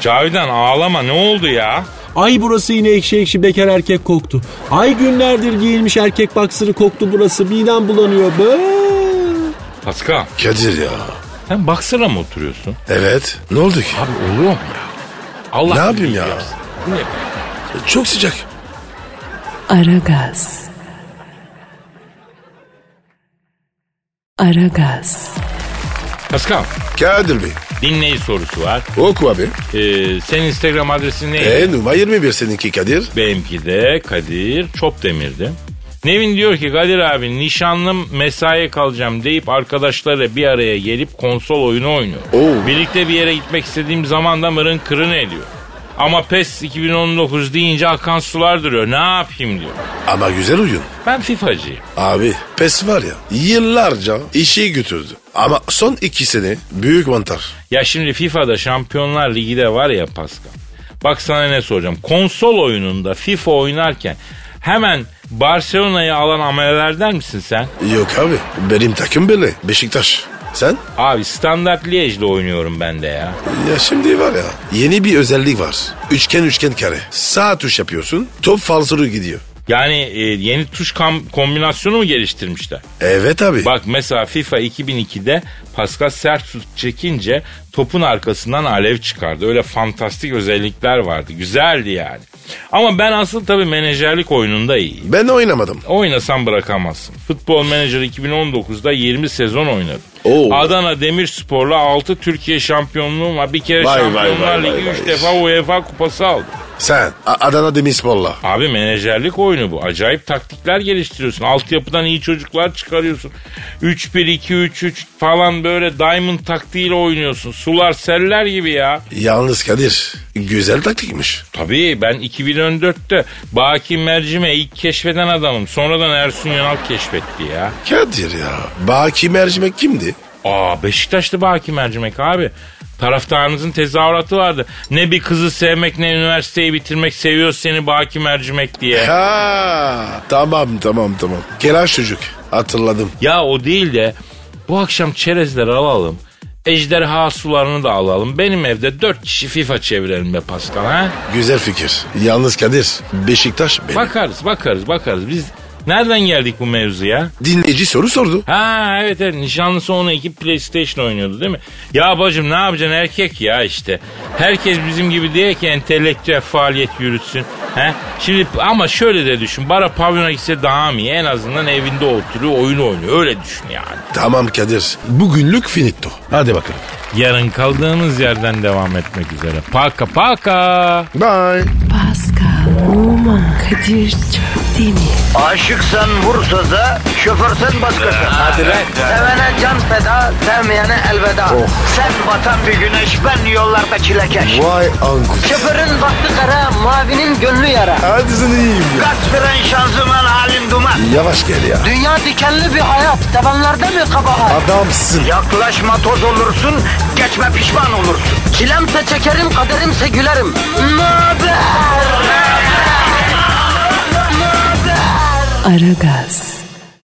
[SPEAKER 2] Cavidan ağlama ne oldu ya?
[SPEAKER 4] Ay burası yine ekşi ekşi bekar erkek koktu. Ay günlerdir giyilmiş erkek baksırı koktu burası. Midem bulanıyor. Bı.
[SPEAKER 2] Pascal
[SPEAKER 3] Kadir ya.
[SPEAKER 2] sen baksana mı oturuyorsun?
[SPEAKER 3] Evet. Ne oldu ki?
[SPEAKER 2] Abi oluyor mu ya? Allah
[SPEAKER 3] Ne yapayım
[SPEAKER 2] bilir
[SPEAKER 3] ya?
[SPEAKER 2] Bu ne be?
[SPEAKER 3] Çok sıcak.
[SPEAKER 1] Aragaz. Aragaz.
[SPEAKER 2] Pascal
[SPEAKER 3] Kadir Bey.
[SPEAKER 2] dinleyici sorusu var.
[SPEAKER 3] Oku abi.
[SPEAKER 2] Ee, senin Instagram adresin ne?
[SPEAKER 3] E numara 21 seninki Kadir.
[SPEAKER 2] Benimki de Kadir Çopdemir'di. Nevin diyor ki Kadir abi nişanlım mesaiye kalacağım deyip arkadaşlarla bir araya gelip konsol oyunu oynuyor.
[SPEAKER 3] Oo.
[SPEAKER 2] Birlikte bir yere gitmek istediğim zaman da mırın kırın ediyor. Ama PES 2019 deyince akan sular duruyor. Ne yapayım diyor.
[SPEAKER 3] Ama güzel oyun.
[SPEAKER 2] Ben FIFA'cıyım.
[SPEAKER 3] Abi PES var ya yıllarca işi götürdü. Ama son iki sene büyük mantar.
[SPEAKER 2] Ya şimdi FIFA'da Şampiyonlar Ligi de var ya Pascal. Bak sana ne soracağım. Konsol oyununda FIFA oynarken hemen Barcelona'yı alan ameleler der misin sen?
[SPEAKER 3] Yok abi benim takım böyle Beşiktaş. Sen?
[SPEAKER 2] Abi standart Liège'de oynuyorum ben de ya.
[SPEAKER 3] Ya şimdi var ya yeni bir özellik var. Üçgen üçgen kare. Sağ tuş yapıyorsun top falsuru gidiyor.
[SPEAKER 2] Yani e, yeni tuş kam- kombinasyonu mu geliştirmişler?
[SPEAKER 3] Evet abi.
[SPEAKER 2] Bak mesela FIFA 2002'de Pascal sert tut çekince topun arkasından alev çıkardı. Öyle fantastik özellikler vardı. Güzeldi yani. Ama ben asıl tabii menajerlik oyununda iyiyim.
[SPEAKER 3] Ben oynamadım.
[SPEAKER 2] Oynasam bırakamazsın. Futbol Manager 2019'da 20 sezon oynadım.
[SPEAKER 3] Oo.
[SPEAKER 2] Adana Demirspor'la 6 Türkiye şampiyonluğum var. Bir kere
[SPEAKER 3] Vay, vay,
[SPEAKER 2] Şampiyonlar
[SPEAKER 3] vay, vay,
[SPEAKER 2] Ligi
[SPEAKER 3] vay.
[SPEAKER 2] 3 defa UEFA kupası aldım.
[SPEAKER 3] Sen A- Adana Demirspor'la.
[SPEAKER 2] Abi menajerlik oyunu bu. Acayip taktikler geliştiriyorsun. Altyapıdan iyi çocuklar çıkarıyorsun. 3-1-2-3-3 falan böyle diamond taktiğiyle oynuyorsun. Sular seller gibi ya.
[SPEAKER 3] Yalnız Kadir güzel taktikmiş.
[SPEAKER 2] Tabii ben 2014'te Baki Mercime ilk keşfeden adamım. Sonradan Ersun Yanal keşfetti ya.
[SPEAKER 3] Kadir ya. Baki mercimek kimdi?
[SPEAKER 2] Aa Beşiktaşlı Baki Mercimek abi. Taraftarınızın tezahüratı vardı. Ne bir kızı sevmek ne üniversiteyi bitirmek seviyor seni Baki Mercimek diye.
[SPEAKER 3] Ha tamam tamam tamam. Kelaş çocuk hatırladım.
[SPEAKER 2] Ya o değil de bu akşam çerezleri alalım. Ejderha sularını da alalım. Benim evde dört kişi FIFA çevirelim be Pascal ha.
[SPEAKER 3] Güzel fikir. Yalnız Kadir Beşiktaş benim.
[SPEAKER 2] Bakarız bakarız bakarız. Biz nereden geldik bu mevzuya?
[SPEAKER 3] Dinleyici soru sordu.
[SPEAKER 2] Ha evet evet nişanlısı onu ekip PlayStation oynuyordu değil mi? Ya bacım ne yapacaksın erkek ya işte. Herkes bizim gibi diye ki entelektüel faaliyet yürütsün. He? Şimdi ama şöyle de düşün. Bara pavyona gitse daha mı iyi? En azından evinde oturuyor oyun oynuyor. Öyle düşün yani.
[SPEAKER 3] Tamam Kadir. Bugünlük finito. Hadi bakalım.
[SPEAKER 2] Yarın kaldığımız yerden devam etmek üzere. Paka paka.
[SPEAKER 3] Bye.
[SPEAKER 1] Pascal, Oman, Kadir çok değil mi?
[SPEAKER 5] Aşıksan vursa da, şoförsen başkasın. Hadi lan. Oh. Sevene can feda, sevmeyene elveda. Sen batan bir güneş, ben yollarda çilekeş.
[SPEAKER 3] Vay anku.
[SPEAKER 5] Şoförün baktı kara, mavinin gönlü yara.
[SPEAKER 3] Hadi sen iyiyim ya.
[SPEAKER 5] Kasperen şanzıman halin duman.
[SPEAKER 3] Yavaş gel ya.
[SPEAKER 5] Dünya dikenli bir hayat, sevenlerde mi kabahar?
[SPEAKER 3] Adamsın.
[SPEAKER 5] Yaklaşma toz olursun, geçme pişman olursun. Çilemse çekerim, kaderimse gülerim. Möber!
[SPEAKER 1] Aragaz.